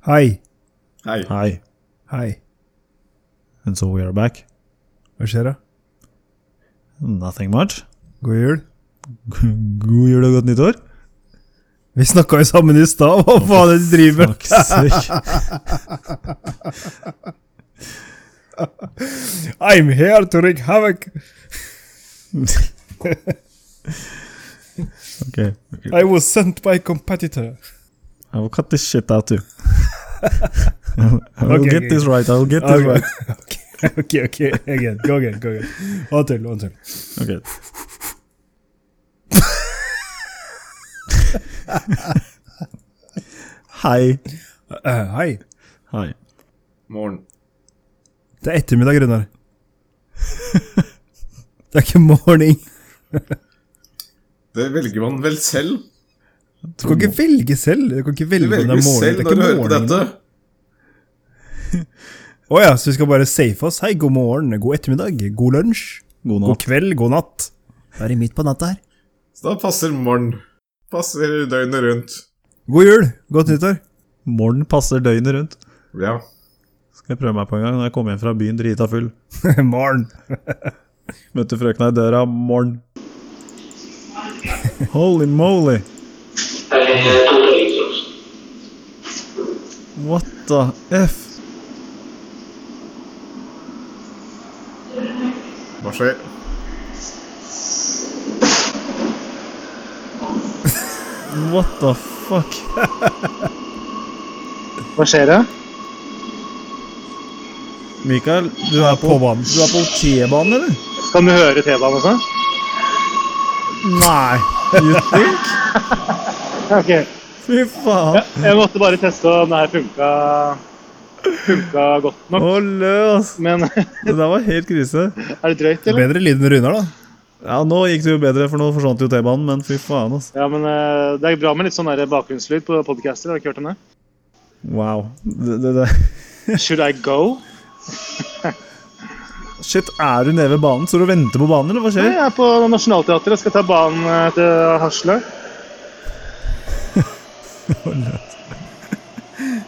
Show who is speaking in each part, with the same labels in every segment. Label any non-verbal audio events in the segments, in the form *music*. Speaker 1: Hei,
Speaker 2: Hei.
Speaker 3: Hei.
Speaker 1: hei.
Speaker 3: And so we are back.
Speaker 1: Hva skjer da?
Speaker 3: Nothing much. *laughs*
Speaker 1: God jul.
Speaker 3: God jul og godt nyttår. *laughs*
Speaker 1: Vi snakka jo sammen i stad, hva faen er det du driver med?
Speaker 3: Fucksake.
Speaker 1: I'm here to wreak havoc.
Speaker 3: Okay.
Speaker 1: I was sent by
Speaker 2: *laughs*
Speaker 1: competitor.
Speaker 3: I will cut this shit out too. *laughs* I will
Speaker 1: Okay,
Speaker 3: get this right. I will get this right.
Speaker 1: *laughs* ok, ok, again. Go again, go again. On til, on til.
Speaker 3: Okay. *laughs* Hei.
Speaker 1: Eh, hei.
Speaker 3: Hei.
Speaker 2: Morgen.
Speaker 1: Det er ettermiddag,
Speaker 2: *laughs*
Speaker 1: Runar. Det er ikke morning.
Speaker 2: Det velger man vel selv?
Speaker 1: Du kan ikke velge selv. Du kan ikke
Speaker 2: Du
Speaker 1: velge om det
Speaker 2: velger
Speaker 1: er morgen.
Speaker 2: selv
Speaker 1: Det er
Speaker 2: når du
Speaker 1: ikke
Speaker 2: hører på
Speaker 1: morning.
Speaker 2: dette.
Speaker 1: Å ja, så vi skal bare safe oss. Hei, god morgen, god ettermiddag, god lunsj,
Speaker 3: God
Speaker 1: god
Speaker 3: natt.
Speaker 1: kveld, god natt. Da er det midt på natta her.
Speaker 2: Så da passer morgen. Passer døgnet rundt.
Speaker 1: God jul, godt nyttår. *laughs*
Speaker 3: Morgen passer døgnet rundt.
Speaker 2: Ja.
Speaker 3: Skal jeg prøve meg på en gang når jeg kommer hjem fra byen drita full.
Speaker 1: morgen.
Speaker 3: Møtte frøkna i døra. Morgen. Holy moly. What the f?
Speaker 2: Hva skjer?
Speaker 3: What the fuck?
Speaker 4: Hva skjer da?
Speaker 3: Mikael, du er på, du er på T-banen, eller?
Speaker 4: Kan du høre T-banen og sånn?
Speaker 3: Nei. You think?
Speaker 4: Ok.
Speaker 3: Fy faen.
Speaker 4: Jeg måtte bare teste om det her funka, funka
Speaker 3: Å,
Speaker 4: godt nok.
Speaker 3: løs.
Speaker 4: Men *laughs* er
Speaker 3: Det der var helt krise.
Speaker 4: det drøyt, eller?
Speaker 1: Bedre lyd enn Runar, da.
Speaker 3: Ja, nå gikk det jo bedre, for nå forsvant jo T-banen, men fy faen, altså.
Speaker 4: Ja, men eh, det er bra med litt sånn der bakgrunnslyd på podcaster. Har du ikke hørt om det?
Speaker 3: Wow. Det, det, det.
Speaker 4: Should I go?
Speaker 3: Shit, er du nede ved banen? Står du og venter på banen, eller hva
Speaker 4: Jeg
Speaker 3: skjer?
Speaker 4: er på Nationaltheatret og skal ta banen eh, til Hasle.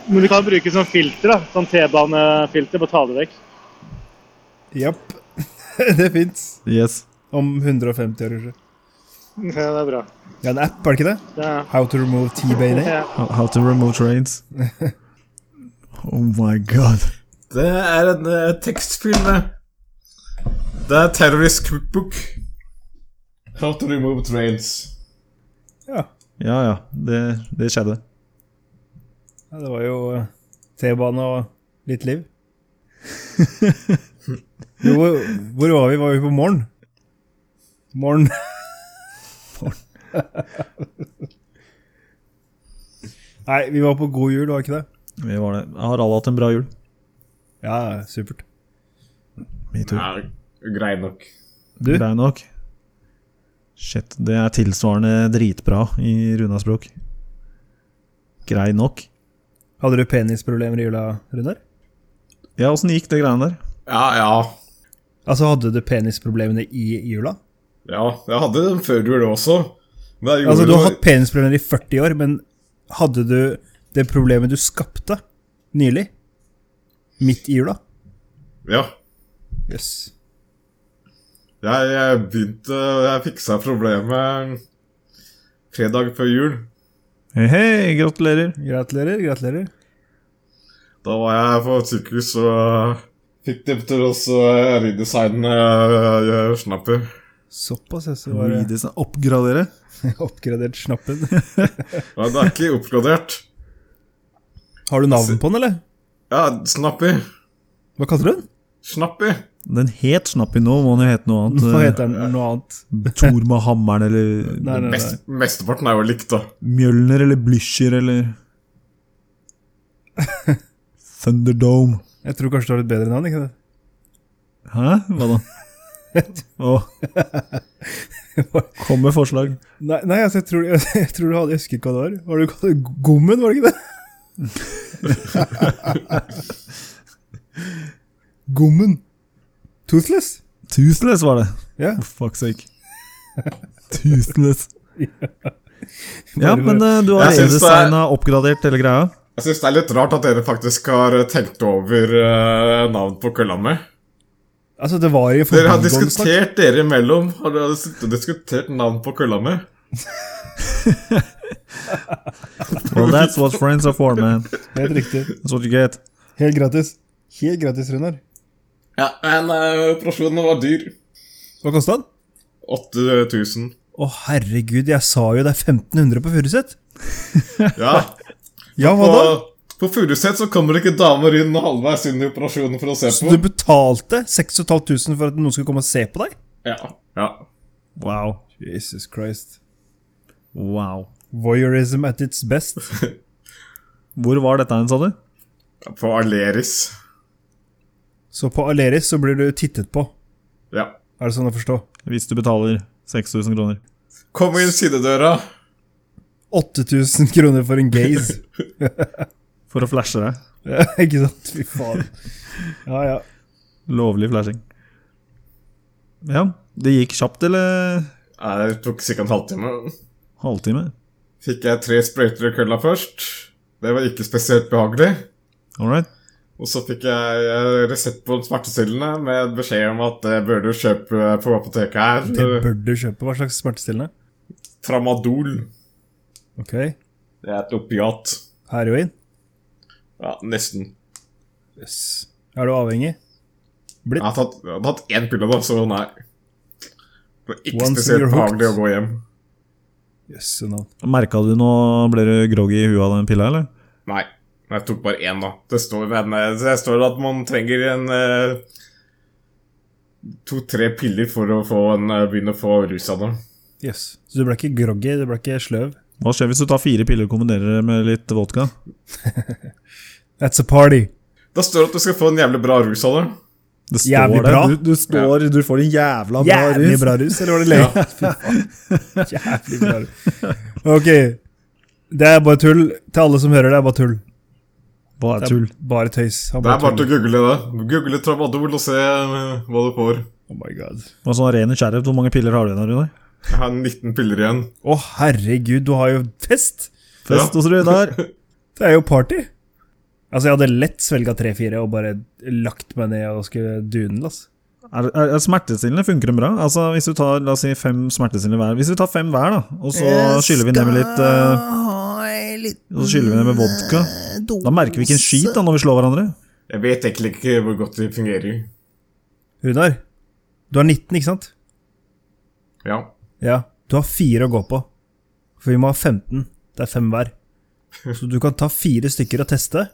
Speaker 4: Men du kan bruke sånn filter, da. Sånn T-banefilter. Bare ta det vekk.
Speaker 1: Japp. *laughs* det fins.
Speaker 3: Yes.
Speaker 1: Om 150 år, kanskje.
Speaker 4: Ja, det er bra.
Speaker 1: Ja, en app, er det ikke det?
Speaker 4: Ja.
Speaker 1: How to remove T-Bane.
Speaker 4: Ja.
Speaker 3: How, how to remote *laughs* trains. Oh my god.
Speaker 2: Det er en eh, tekstfil, det. Det er Terrorist Cookbook. How to remove trains.
Speaker 1: Ja.
Speaker 3: Ja, ja. Det, det skjedde.
Speaker 1: ja, det var jo eh, T-bane og litt liv. *laughs* jo, hvor hvor var vi? Var vi på morgen? Morgen. *laughs* Nei, vi var på god jul, var vi ikke det?
Speaker 3: Vi var det. Har alle hatt en bra jul?
Speaker 1: Ja, supert.
Speaker 3: Me too.
Speaker 2: Ja, grei nok.
Speaker 1: Du?
Speaker 3: Grei nok. Shit, det er tilsvarende dritbra i Runas språk. Grei nok.
Speaker 1: Hadde du penisproblemer i jula, Runar?
Speaker 3: Ja, åssen gikk det greiene der?
Speaker 2: Ja, ja.
Speaker 1: Altså, hadde du penisproblemene i jula?
Speaker 2: Ja, jeg hadde den før jul også. Men jeg gjorde
Speaker 1: Altså, du har
Speaker 2: noe-
Speaker 1: hatt penisproblemer i 40 år, men hadde du det problemet du skapte nylig? Midt i jula?
Speaker 2: Ja.
Speaker 1: Jøss. Yes.
Speaker 2: Jeg, jeg begynte Jeg fiksa problemet fredag før jul.
Speaker 3: Hei, hei, gratulerer.
Speaker 1: Gratulerer, gratulerer.
Speaker 2: Da var jeg på et sykehus og fikk dem til å så redesigne eh, snapper.
Speaker 1: Såpass, ja. Så var det
Speaker 3: Redesign- Oppgradere?
Speaker 1: oppgradert snappen.
Speaker 2: Ja, det er ikke oppgradert.
Speaker 1: *laughs* Har du navn på den, eller?
Speaker 2: Ja, snappy.
Speaker 1: Hva kaller du den?
Speaker 2: Snappy.
Speaker 3: Den het Snappy nå, må den jo hete noe annet.
Speaker 1: Hva heter den noe annet?
Speaker 3: Eh, Thor med hammeren, eller
Speaker 1: Nei, nei, nei.
Speaker 2: Mest, mesteparten er jo likt, da.
Speaker 3: Mjølner, eller Blücher, eller Thunderdome.
Speaker 1: Jeg tror kanskje du har et bedre navn, ikke det?
Speaker 3: Hæ? Hva da? Åh. Kom med forslag.
Speaker 1: Nei, nei altså, jeg tror, *laughs* jeg, tror du hadde jeg husker ikke hva det var. Var du kalt det Gommen, var det ikke det? *laughs* Gommen. Toothless?
Speaker 3: Toothless var det.
Speaker 1: Ja.
Speaker 3: For fuck's sake. Toothless.
Speaker 1: Bare
Speaker 3: Ja, men eh, du har
Speaker 2: Jeg syns det er-
Speaker 3: eh, redesigna, oppgradert hele greia?
Speaker 2: Jeg syns det er litt rart at dere faktisk har tenkt over eh, navn på kølla mi.
Speaker 1: Altså, det var i
Speaker 2: Dere har
Speaker 1: forbigående snakk.
Speaker 2: diskutert dere imellom. Har dere sittet og diskutert navn på kølla mi?
Speaker 3: Well, that's what friends are for, man.
Speaker 1: Helt riktig.
Speaker 3: That's what you get.
Speaker 1: Helt gratis. Helt gratis, Runar.
Speaker 2: Ja, men eh, operasjonen var dyr.
Speaker 1: Hva kosta den?
Speaker 2: 8000.
Speaker 1: Å, herregud, jeg sa jo det er 1500 på Furuset.
Speaker 2: Ja.
Speaker 1: Ja, hva da?
Speaker 2: Og på Furuset så kommer det ikke damer inn halvveis inn i operasjonen for å se
Speaker 1: Så
Speaker 2: på.
Speaker 1: du betalte 6500 for at noen skulle komme og se på deg?
Speaker 2: Ja, ja.
Speaker 3: Wow.
Speaker 1: Jesus Christ.
Speaker 3: Wow.
Speaker 1: Voyeurism at its best.
Speaker 3: Hvor var dette hen, sa du?
Speaker 2: På Aleris.
Speaker 1: Så på Aleris så blir du tittet på.
Speaker 2: Ja.
Speaker 1: Er det sånn å forstå?
Speaker 3: Hvis du betaler 6000 kroner.
Speaker 2: Kom inn sidedøra.
Speaker 1: 8000 kroner for en
Speaker 2: *laughs*
Speaker 1: gaze.
Speaker 3: For å flashe deg.
Speaker 1: Ja, Ikke sant? Fy faen. Ja, ja.
Speaker 3: Lovlig flashing. Ja, det gikk kjapt, eller?
Speaker 2: Nei, Det tok ca. en halvtime.
Speaker 3: Halvtime?
Speaker 2: Fikk jeg tre sprøyter i kølla først. Det var ikke spesielt behagelig.
Speaker 3: All right.
Speaker 2: Og så fikk jeg eh, resept på smertestillende med beskjed om at det bør du kjøpe på apoteket
Speaker 1: Det
Speaker 2: her.
Speaker 1: bør du kjøpe. Hva slags smertestillende?
Speaker 2: Tramadol.
Speaker 1: Ok.
Speaker 2: Det er et opiat.
Speaker 1: Heroin?
Speaker 2: Ja, nesten.
Speaker 1: Yes. Er du avhengig?
Speaker 2: Jeg har tatt, jeg har tatt én pille, da, så nei. Det var ikke
Speaker 1: Once
Speaker 2: spesielt
Speaker 1: you're hooked.
Speaker 2: behagelig å gå hjem.
Speaker 1: Jøsse navn.
Speaker 3: Merka du noe Ble du groggy i huet av den pilla, eller?
Speaker 2: Nei. Jeg tok bare én, da. Det står, men, eh, det står at man trenger en eh, To-tre piller for å få en, eh, begynne å få rus av det.
Speaker 1: Yes. Så du ble ikke groggy, du ble ikke sløv?
Speaker 3: Hva skjer hvis du tar fire piller og kombinerer det med litt vodka?
Speaker 1: That's a party.
Speaker 2: Det står at du skal få en jævlig bra rus av det.
Speaker 3: Det
Speaker 1: Jævlig bra.
Speaker 3: Du, du står Du får en jævla bra
Speaker 1: Jævlig
Speaker 3: rus.
Speaker 1: bra rus, eller var det lenge? *laughs* Jævlig bra rus.
Speaker 3: *laughs*
Speaker 1: Ok. Det er bare tull. Til alle som hører det, er bare tull.
Speaker 3: Bare
Speaker 1: Det er
Speaker 3: tull.
Speaker 1: Bare tøys. Han
Speaker 2: Det er bare
Speaker 1: tuller.
Speaker 2: til å google det. Google Tramadol og se eh, hva du får.
Speaker 1: Oh my god.
Speaker 3: Og sånn ren nysgjerrighet, hvor mange piller har du igjen, Runar?
Speaker 2: Jeg har 19 piller igjen.
Speaker 1: Å, herregud, du har jo fest!
Speaker 3: Fest hos Runar.
Speaker 1: Det er jo party. Altså, jeg hadde lett svelga tre-fire og bare lagt meg ned og skulle dune den, ass.
Speaker 3: Er, er, er smertestillende funker de bra? Altså Hvis du tar la oss si fem smertestillende hver Hvis vi tar fem hver, da, og så skyller vi ned med litt eh, Og så skyller vi ned med vodka. Da merker vi ikke en skit da når vi slår hverandre.
Speaker 2: Jeg vet egentlig ikke hvor godt de fungerer.
Speaker 1: Runar, du er 19, ikke sant?
Speaker 2: Ja.
Speaker 1: Ja. Du har fire å gå på. For vi må ha 15. Det er fem hver. Så du kan ta fire stykker og teste,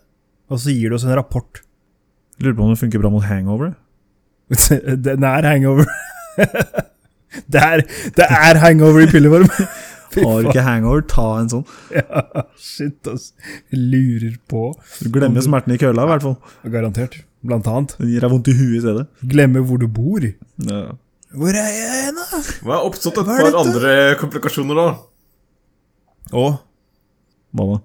Speaker 1: og så gir du oss en rapport. *laughs*
Speaker 3: Lurer på om det funker bra mot hangover.
Speaker 1: Den er hangover. *laughs* Det er, det er hangover i pilleform. *laughs* Fy
Speaker 3: Har
Speaker 1: faen.
Speaker 3: du ikke hangover, ta en sånn.
Speaker 1: Ja, shit, ass. Jeg Lurer på.
Speaker 3: Du glemmer smerten i kølla, i hvert fall.
Speaker 1: Garantert. Blant annet.
Speaker 3: Den gir deg vondt i huet i stedet.
Speaker 1: Glemme hvor du bor.
Speaker 3: Ja.
Speaker 1: Hvor er jeg hen, da?
Speaker 2: Det har oppstått et
Speaker 1: Hva er
Speaker 2: par
Speaker 1: dette?
Speaker 2: andre komplikasjoner, da.
Speaker 1: Å,
Speaker 3: Hva da?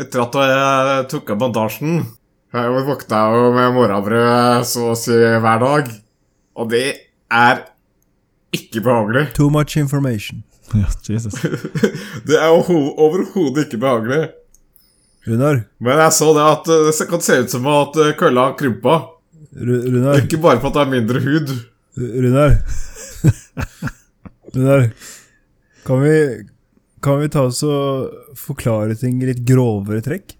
Speaker 3: *laughs*
Speaker 2: Etter at jeg tok av bandasjen Jeg våkna jo med morgenbrød så å si hver dag. Og det er ikke behagelig.
Speaker 1: too much information.
Speaker 3: Ja, Jesus.
Speaker 2: Det er jo ho- overhodet ikke behagelig.
Speaker 1: Runar,
Speaker 2: Men jeg så det at eh, det kan se ut som at eh, kølla har krympa.
Speaker 1: Ru- Runar,
Speaker 2: Ikke bare for at det er mindre hud.
Speaker 1: Ru- Runar. Runar, kan vi, kan vi ta oss og forklare ting i litt grovere trekk?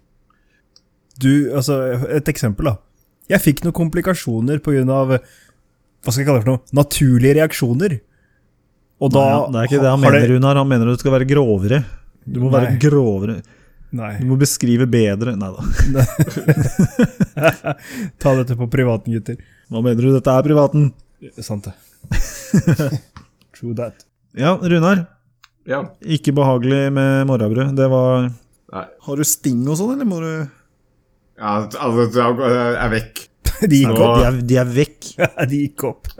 Speaker 1: Du, altså, et eksempel da. Jeg fikk noen komplikasjoner på grunn av, hva skal jeg kalle det for noe, naturlige reaksjoner. Og da...
Speaker 3: Ja, det er ikke det han
Speaker 1: har
Speaker 3: mener, Runar. Han mener at du skal være grovere. Du må være
Speaker 1: Nei.
Speaker 3: grovere.
Speaker 1: Nei,
Speaker 3: Du må beskrive bedre. Nei da.
Speaker 1: ta dette på privaten, gutter.
Speaker 3: Hva mener du? Dette er privaten.
Speaker 1: Sant det.
Speaker 3: *laughs*
Speaker 1: True that. *laughs*
Speaker 3: Ja, Runar.
Speaker 2: Ja.
Speaker 3: Ikke behagelig med morrabrød. Det var
Speaker 2: Nei.
Speaker 3: Har du sting og sånn, eller må du
Speaker 2: ja altså, alle eh, er vekk.
Speaker 1: De gikk
Speaker 2: Så-
Speaker 1: opp. *laughs*
Speaker 3: De er, de er vekk.
Speaker 1: De gikk opp.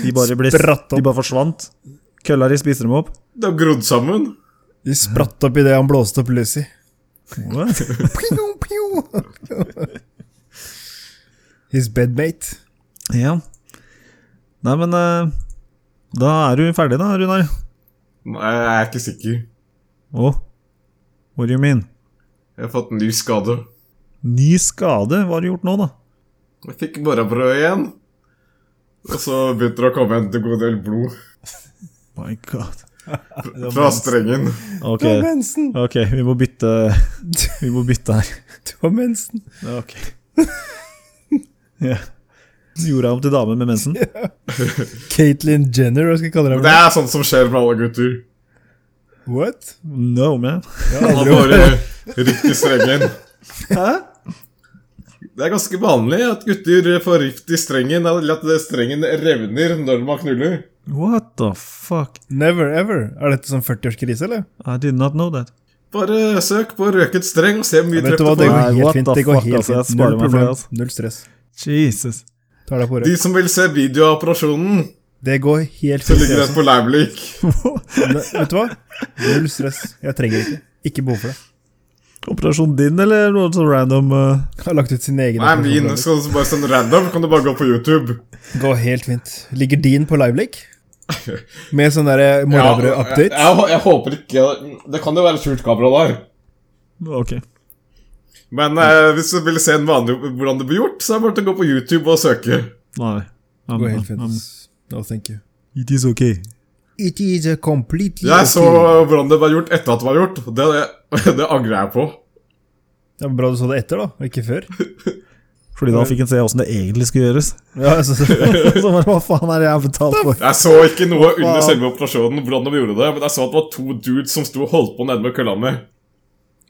Speaker 3: De bare, ble,
Speaker 1: Spratt opp.
Speaker 3: de bare forsvant. Kølla di spiste dem opp.
Speaker 2: Det har grodd sammen.
Speaker 1: De spratt opp idet han blåste opp Lucy.
Speaker 3: What?
Speaker 1: Pio, pio. His bedmate.
Speaker 3: Ja. Nei, men eh, Da er du ferdig, da, Runar.
Speaker 2: Nei, Jeg er ikke sikker.
Speaker 3: Å? what do you mean?
Speaker 2: Jeg har fått en ny skade.
Speaker 3: Ny skade? Hva har du gjort nå, da?
Speaker 2: Jeg fikk morrabrød igjen. Og så begynte det å komme en god del blod
Speaker 3: My god.
Speaker 2: fra strengen.
Speaker 3: Ok,
Speaker 1: Du har mensen!
Speaker 3: ok, vi må bytte *laughs* Vi må bytte her.
Speaker 1: Du har mensen! *laughs*
Speaker 3: Ok. Ja. Gjorde jeg om til dame med mensen?
Speaker 1: Caitlyn Jenner, hva skal jeg kalle deg? for
Speaker 2: Det er sånt som skjer med alle gutter.
Speaker 1: noe? What?
Speaker 3: No, man.
Speaker 2: Han har bare rift i strengen.
Speaker 3: Hæ?
Speaker 2: Det er ganske vanlig at gutter får rift i strengen, eller at det- strengen revner når man knuller.
Speaker 3: What the fuck?
Speaker 1: Never ever. Er dette sånn 40-årskrise, eller?
Speaker 3: I did not know that.
Speaker 2: Bare søk på røket streng og se hvor mye
Speaker 1: Vet
Speaker 2: trøkk
Speaker 1: du hva,
Speaker 2: du
Speaker 1: det
Speaker 2: får.
Speaker 1: går
Speaker 3: Nei,
Speaker 1: helt
Speaker 3: what
Speaker 1: fint.
Speaker 3: the
Speaker 1: Det går
Speaker 3: fuck,
Speaker 1: helt
Speaker 3: altså, jeg
Speaker 1: fint. Null
Speaker 3: sparer meg for det,
Speaker 1: problem.
Speaker 3: altså.
Speaker 1: Null stress.
Speaker 3: Jesus.
Speaker 1: Tar deg på
Speaker 2: De
Speaker 1: ordet.
Speaker 2: som vil se video av operasjonen,
Speaker 1: Det går helt
Speaker 2: så
Speaker 1: fint.
Speaker 2: ligger
Speaker 1: det
Speaker 2: den på Leimlik.
Speaker 1: også. Ne- Vet du hva? Null stress. Jeg trenger det ikke. Ikke behov for det.
Speaker 3: Operasjon din, eller noe sånn random uh,
Speaker 1: Jeg har lagt ut sin egen
Speaker 2: Nei,
Speaker 1: informasjon.
Speaker 2: min skal du bare sende random. Kan du bare gå på YouTube?
Speaker 1: Går helt fint. Ligger din på livelink?
Speaker 3: *laughs*
Speaker 1: Med sånn derre
Speaker 2: jeg,
Speaker 1: morrabrød-update?
Speaker 2: jeg, jeg håper ikke Det kan jo være skjult kamera der.
Speaker 3: Ok.
Speaker 2: Men eh, hvis du vil se en vanlig hvordan det blir gjort, så er det bare til å gå på YouTube og søke.
Speaker 3: Nei. Um,
Speaker 1: Går helt
Speaker 3: um,
Speaker 1: fint. No, thank you.
Speaker 3: It is okay.
Speaker 1: It is a completely
Speaker 2: Jeg så hvordan det var gjort etter at det var gjort. Det, det, det angrer jeg på.
Speaker 1: Det var bra du så det etter, da, og ikke før.
Speaker 3: Fordi da fikk en se åssen det egentlig skulle gjøres.
Speaker 1: Ja, altså, *laughs* så-
Speaker 3: Så bare, Hva faen er det jeg har betalt for?
Speaker 2: Jeg så ikke noe under selve operasjonen, hvordan de gjorde det, men jeg så at det var to dudes som sto og holdt på nede med kølla mi.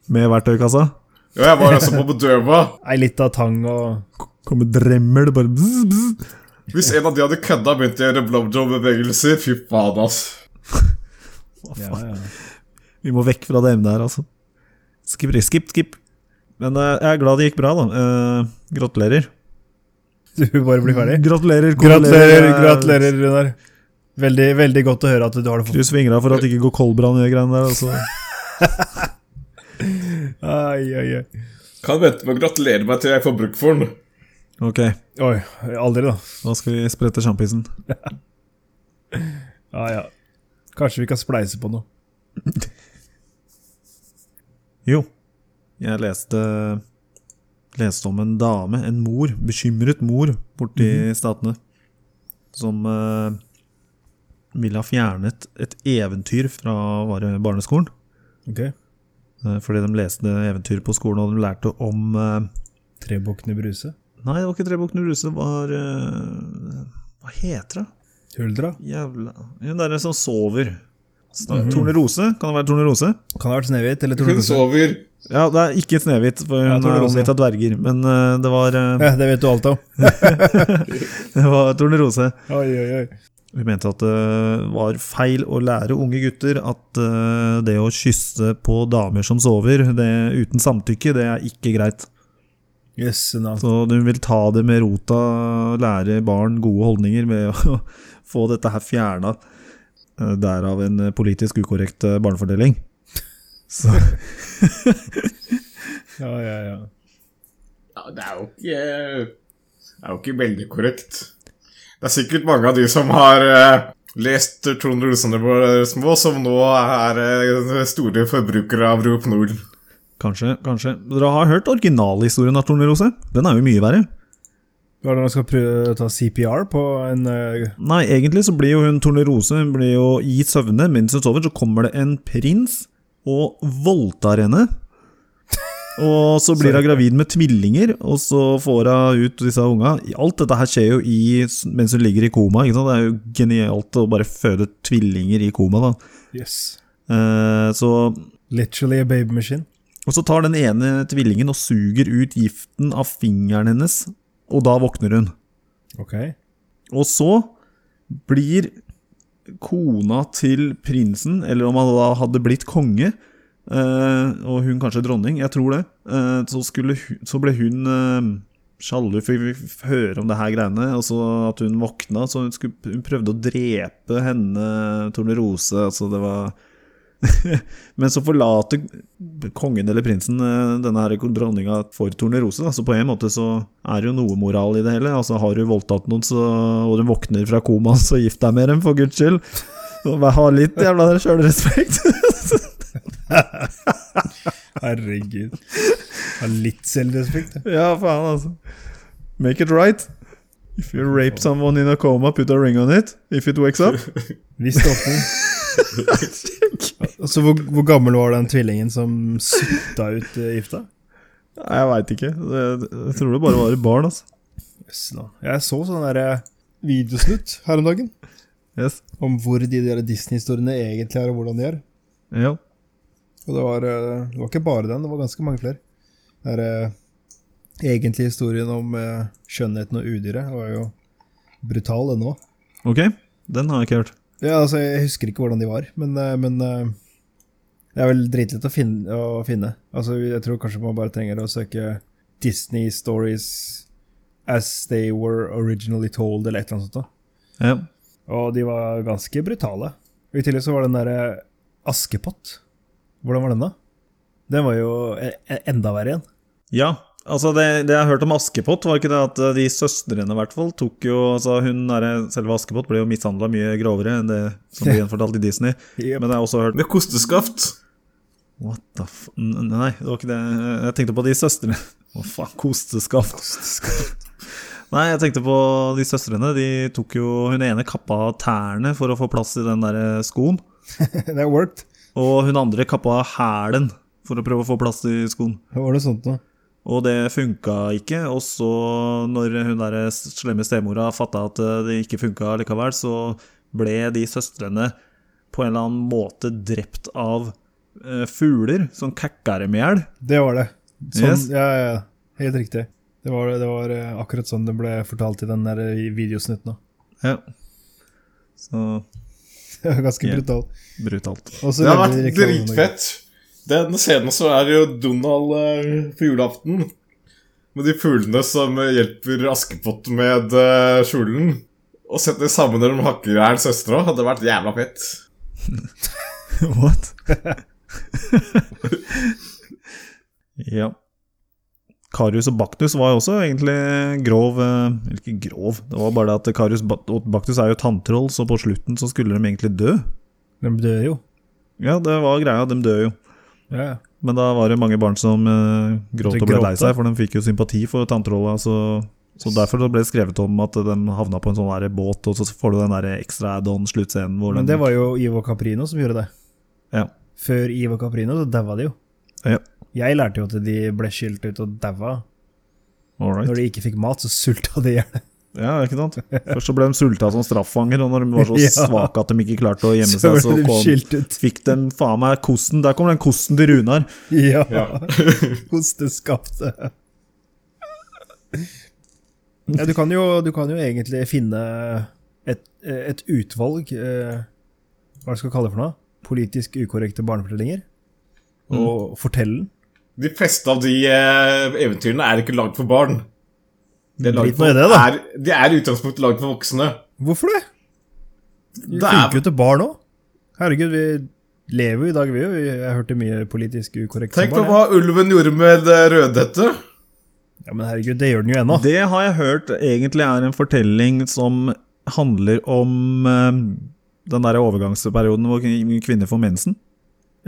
Speaker 3: Med verktøykassa?
Speaker 2: Og jeg var altså på bedøva.
Speaker 1: Ei lita tang og *laughs*
Speaker 3: Kommer dremmel, bare bzz, bzz.
Speaker 2: Hvis en av de hadde kødda og begynt å gjøre blowjob-bevegelser, fy faen, ass.
Speaker 3: Hva
Speaker 1: ja,
Speaker 3: faen?
Speaker 1: ja.
Speaker 3: Vi må vekk fra det emnet her, altså. Skip, skip. skip. Men eh, jeg er glad det gikk bra, da. Eh, gratulerer.
Speaker 1: Du bare blir ferdig.
Speaker 3: Gratulerer.
Speaker 1: Gratulerer,
Speaker 3: kondolerer, eh,
Speaker 1: gratulerer, Runar. Veldig, veldig godt å høre at du har det for
Speaker 3: Kryss fingra for at det ikke går koldbrann i de greiene der. Altså.
Speaker 1: Ai, ai, ai.
Speaker 2: Kan vente med å gratulere meg til jeg får bruk for den.
Speaker 3: Ok,
Speaker 1: Oi, aldri, da.
Speaker 3: da skal vi sprette sjampisen.
Speaker 1: Ja, ja. Kanskje vi kan spleise på noe.
Speaker 3: Jo, jeg leste Leste om en dame, en mor, bekymret mor, borti Statene, som eh, ville ha fjernet et eventyr fra var det barneskolen.
Speaker 1: Ok?
Speaker 3: eh, fordi de leste eventyr på skolen, og de lærte om eh,
Speaker 1: Trebukkene Bruse.
Speaker 3: Nei, det var ikke Trebukken Ruse, det var eh, Hva heter det?
Speaker 1: Huldra.
Speaker 3: Jævla Hun derre som sover.
Speaker 1: Mhm.
Speaker 3: Snak- Tornerose? Kan det være Tornerose?
Speaker 1: Kan det ha vært Snehvit eller
Speaker 2: Hun
Speaker 1: Tornerose?
Speaker 2: sover.
Speaker 3: Ja, det er ikke Snehvit, for
Speaker 1: Ja,
Speaker 3: hun er
Speaker 1: Tornerose.
Speaker 3: omgitt av dverger. Men eh, det var, eh,
Speaker 1: Ja, det vet du alt om.
Speaker 3: *laughs* det var Tornerose.
Speaker 1: Oi, oi, oi.
Speaker 3: Hun mente at det var feil å lære unge gutter at eh, det å kysse på damer som sover det, uten samtykke, det er ikke greit.
Speaker 1: Jøsse navn.
Speaker 3: Så hun vil ta det med rota, lære barn gode holdninger ved å *laughs* få dette her fjerna. Eh, Derav en politisk ukorrekt eh, barnefordeling. *laughs* Så
Speaker 1: Ja, ja, ja.
Speaker 2: Ja, det er jo ikke Det er jo ikke veldig korrekt. Det er sikkert mange av de som har eh, lest Trond Olsen og var eh, små, som nå er eh, store forbrukere av Rop Nord.
Speaker 3: kanskje, kanskje. Dere har hørt originalhistorien av Tornerose? Den er jo mye verre.
Speaker 1: Hva er det man skal prøve å ta CPR på en eh,
Speaker 3: Nei, egentlig så blir jo hun Tornerose Hun blir jo i søvne mens hun sover. Så kommer det en prins og voldtar henne. Og så blir hun gravid med tvillinger, og så får hun ut disse unga. Alt dette her skjer jo i, mens hun ligger i koma. Ikke sant? Det er jo genialt å bare føde tvillinger i koma, da.
Speaker 1: Yes.
Speaker 3: Eh, så,
Speaker 1: Literally a baby machine.
Speaker 3: og så tar den ene tvillingen og suger ut giften av fingeren hennes, og da våkner hun.
Speaker 1: Ok.
Speaker 3: Og så blir kona til prinsen, eller om han da hadde blitt konge, eh, og hun kanskje dronning, jeg tror det, eh, så, skulle, hu- så ble hun eh, sjalu for vi fikk høre om det her greiene, og så at hun våkna, så hun, skulle, hun prøvde å drepe henne, Tornerose, altså det var men så forlater kongen eller prinsen eh, denne her dronninga for Tornerose. Da. Så på en måte så er det jo noe moral i det hele. Altså Har du voldtatt noen så, og du våkner fra koma, *laughs* så gift deg med dem, for guds skyld. Så bare Ha litt jævla sjølrespekt.
Speaker 1: Herregud. Ha litt selvrespekt. da.
Speaker 3: *laughs* Ja, faen, altså. Make it right. If you rape someone in a coma, put a ring on it. If it wakes up.
Speaker 1: Hvis det åpner. Altså, hvor, hvor gammel var den tvillingen som sutta ut eh, gifta?
Speaker 3: Nei, jeg veit ikke. Det- Jeg tror det bare var et barn, altså.
Speaker 1: Jøss, da. Jeg så sånn derre videosnutt her om dagen.
Speaker 3: Yes.
Speaker 1: Om hvor de der Disney-historiene egentlig er, og hvordan de er.
Speaker 3: Ja.
Speaker 1: Og det var, eh, det var ikke bare den, det var ganske mange flere. Det er eh, egentlig historien om eh, skjønnheten og udyret. var jo brutal, den òg.
Speaker 3: Ok, den har jeg ikke hørt.
Speaker 1: Ja, altså, jeg husker ikke hvordan de var, men, eh, men eh, det er vel dritlett å finne. Å finne. Altså, jeg tror kanskje man bare trenger å søke Disney Stories as they were originally told, eller et eller annet sånt. da.
Speaker 3: Ja.
Speaker 1: Og de var ganske brutale. I tillegg så var den derre Askepott. Hvordan var den, da? Den var jo e- e- enda verre igjen.
Speaker 3: Ja, altså det, det jeg har hørt om Askepott, var ikke det at eh, de søstrene i hvert fall tok jo altså hun der, Selve Askepott ble jo mishandla mye grovere enn det *laughs* som ble gjenfortalt i Disney.
Speaker 1: Jep.
Speaker 3: Men jeg har også hørt
Speaker 2: Med kosteskaft.
Speaker 3: What the f... n- Nei, det var ikke det. Jeg tenkte på de søstrene. *laughs* Hva faen, kosteskaft. *laughs* Nei, jeg tenkte på de søstrene. De tok jo Hun ene kappa tærne for å få plass i den der eh, skoen.
Speaker 1: *laughs* det worked.
Speaker 3: Og hun andre kappa hælen for å prøve å få plass i skoen.
Speaker 1: Det var noe sånt noe.
Speaker 3: Og det funka ikke. Og så, når hun der slemme stemora fatta at eh, det ikke funka likevel, så ble de søstrene på en eller annen måte drept av eh, fugler som kakka dem i hjel.
Speaker 1: Det var det. Sånn,
Speaker 3: Yes.
Speaker 1: ja, ja, ja. Helt riktig. Det var, det var eh, akkurat sånn det ble fortalt i den der videosnutten òg.
Speaker 3: Ja. Så
Speaker 1: *laughs* Det var Ganske
Speaker 3: Ja.
Speaker 1: brutalt.
Speaker 3: brutalt.
Speaker 1: Og så
Speaker 2: Det har
Speaker 1: lagde de
Speaker 2: vært
Speaker 1: reklame om det.
Speaker 2: dritfett. Den scenen så er jo Donald eh, på julaften. Med de fuglene som eh, hjelper Askepott med eh, kjolen. Og setter sammen når de hakker i hjel søstera. Hadde vært jævla fett.
Speaker 3: *laughs* What? *laughs* ja. Karius og Baktus var jo også egentlig grov eh, Eller ikke grov, det var bare det at Karius Ba- og Baktus er jo tanntroll, så på slutten så skulle de egentlig dø.
Speaker 1: De dør jo.
Speaker 3: Ja, det var greia, de døde jo.
Speaker 1: Ja, ja.
Speaker 3: Men da var det mange barn som eh, gråt
Speaker 1: De
Speaker 3: og ble
Speaker 1: gråt,
Speaker 3: lei seg, for de fikk jo sympati for tanntrolla. Så, så derfor så ble det skrevet om at de havna på en sånn der båt, og så får du den der ekstra add-on-sluttscenen hvor
Speaker 1: Men
Speaker 3: de-
Speaker 1: det var jo Ivo Caprino som gjorde det.
Speaker 3: ja.
Speaker 1: Før Ivo Caprino så daua de jo.
Speaker 3: ja.
Speaker 1: Jeg lærte jo at de ble skilt ut og daua.
Speaker 3: All right.
Speaker 1: Når de ikke fikk mat, så sulta de i hjel.
Speaker 3: Ja, ikke sant? Først så ble de sulta som straffanger, og når de var så
Speaker 1: *laughs* Ja.
Speaker 3: svake at de ikke klarte å gjemme
Speaker 1: *laughs* Så
Speaker 3: seg, så
Speaker 1: ble de
Speaker 3: kom,
Speaker 1: skilt ut.
Speaker 3: fikk de faen meg kosten. Der kom den kosten til Runar.
Speaker 1: Ja.
Speaker 2: Ja.
Speaker 1: *laughs* Kosteskapte. Ja, du, kan jo, du kan jo egentlig finne et, et utvalg eh, Hva er det skal kalle det for noe? Politisk ukorrekte barnefortellinger.
Speaker 2: Mm.
Speaker 1: Og fortelle den.
Speaker 2: De fleste av de eh, eventyrene er ikke lagd for barn. De er, laget
Speaker 1: Drit nå i det,
Speaker 2: for,
Speaker 1: da.
Speaker 2: er, de er i utgangspunktet lagd for voksne.
Speaker 1: Hvorfor det?
Speaker 2: Det
Speaker 1: Det
Speaker 2: er,
Speaker 1: funker jo til barn òg. Herregud, vi lever jo i dag, vi òg. Jeg hørte mye politisk ukorrekt. som
Speaker 2: tenk på
Speaker 1: barn, jeg.
Speaker 2: hva ulven gjorde med eh, Rødhette.
Speaker 1: Ja, Men herregud, det gjør den jo ennå.
Speaker 3: Det har jeg hørt egentlig er en fortelling som handler om eh, den der overgangsperioden hvor kvinner får mensen.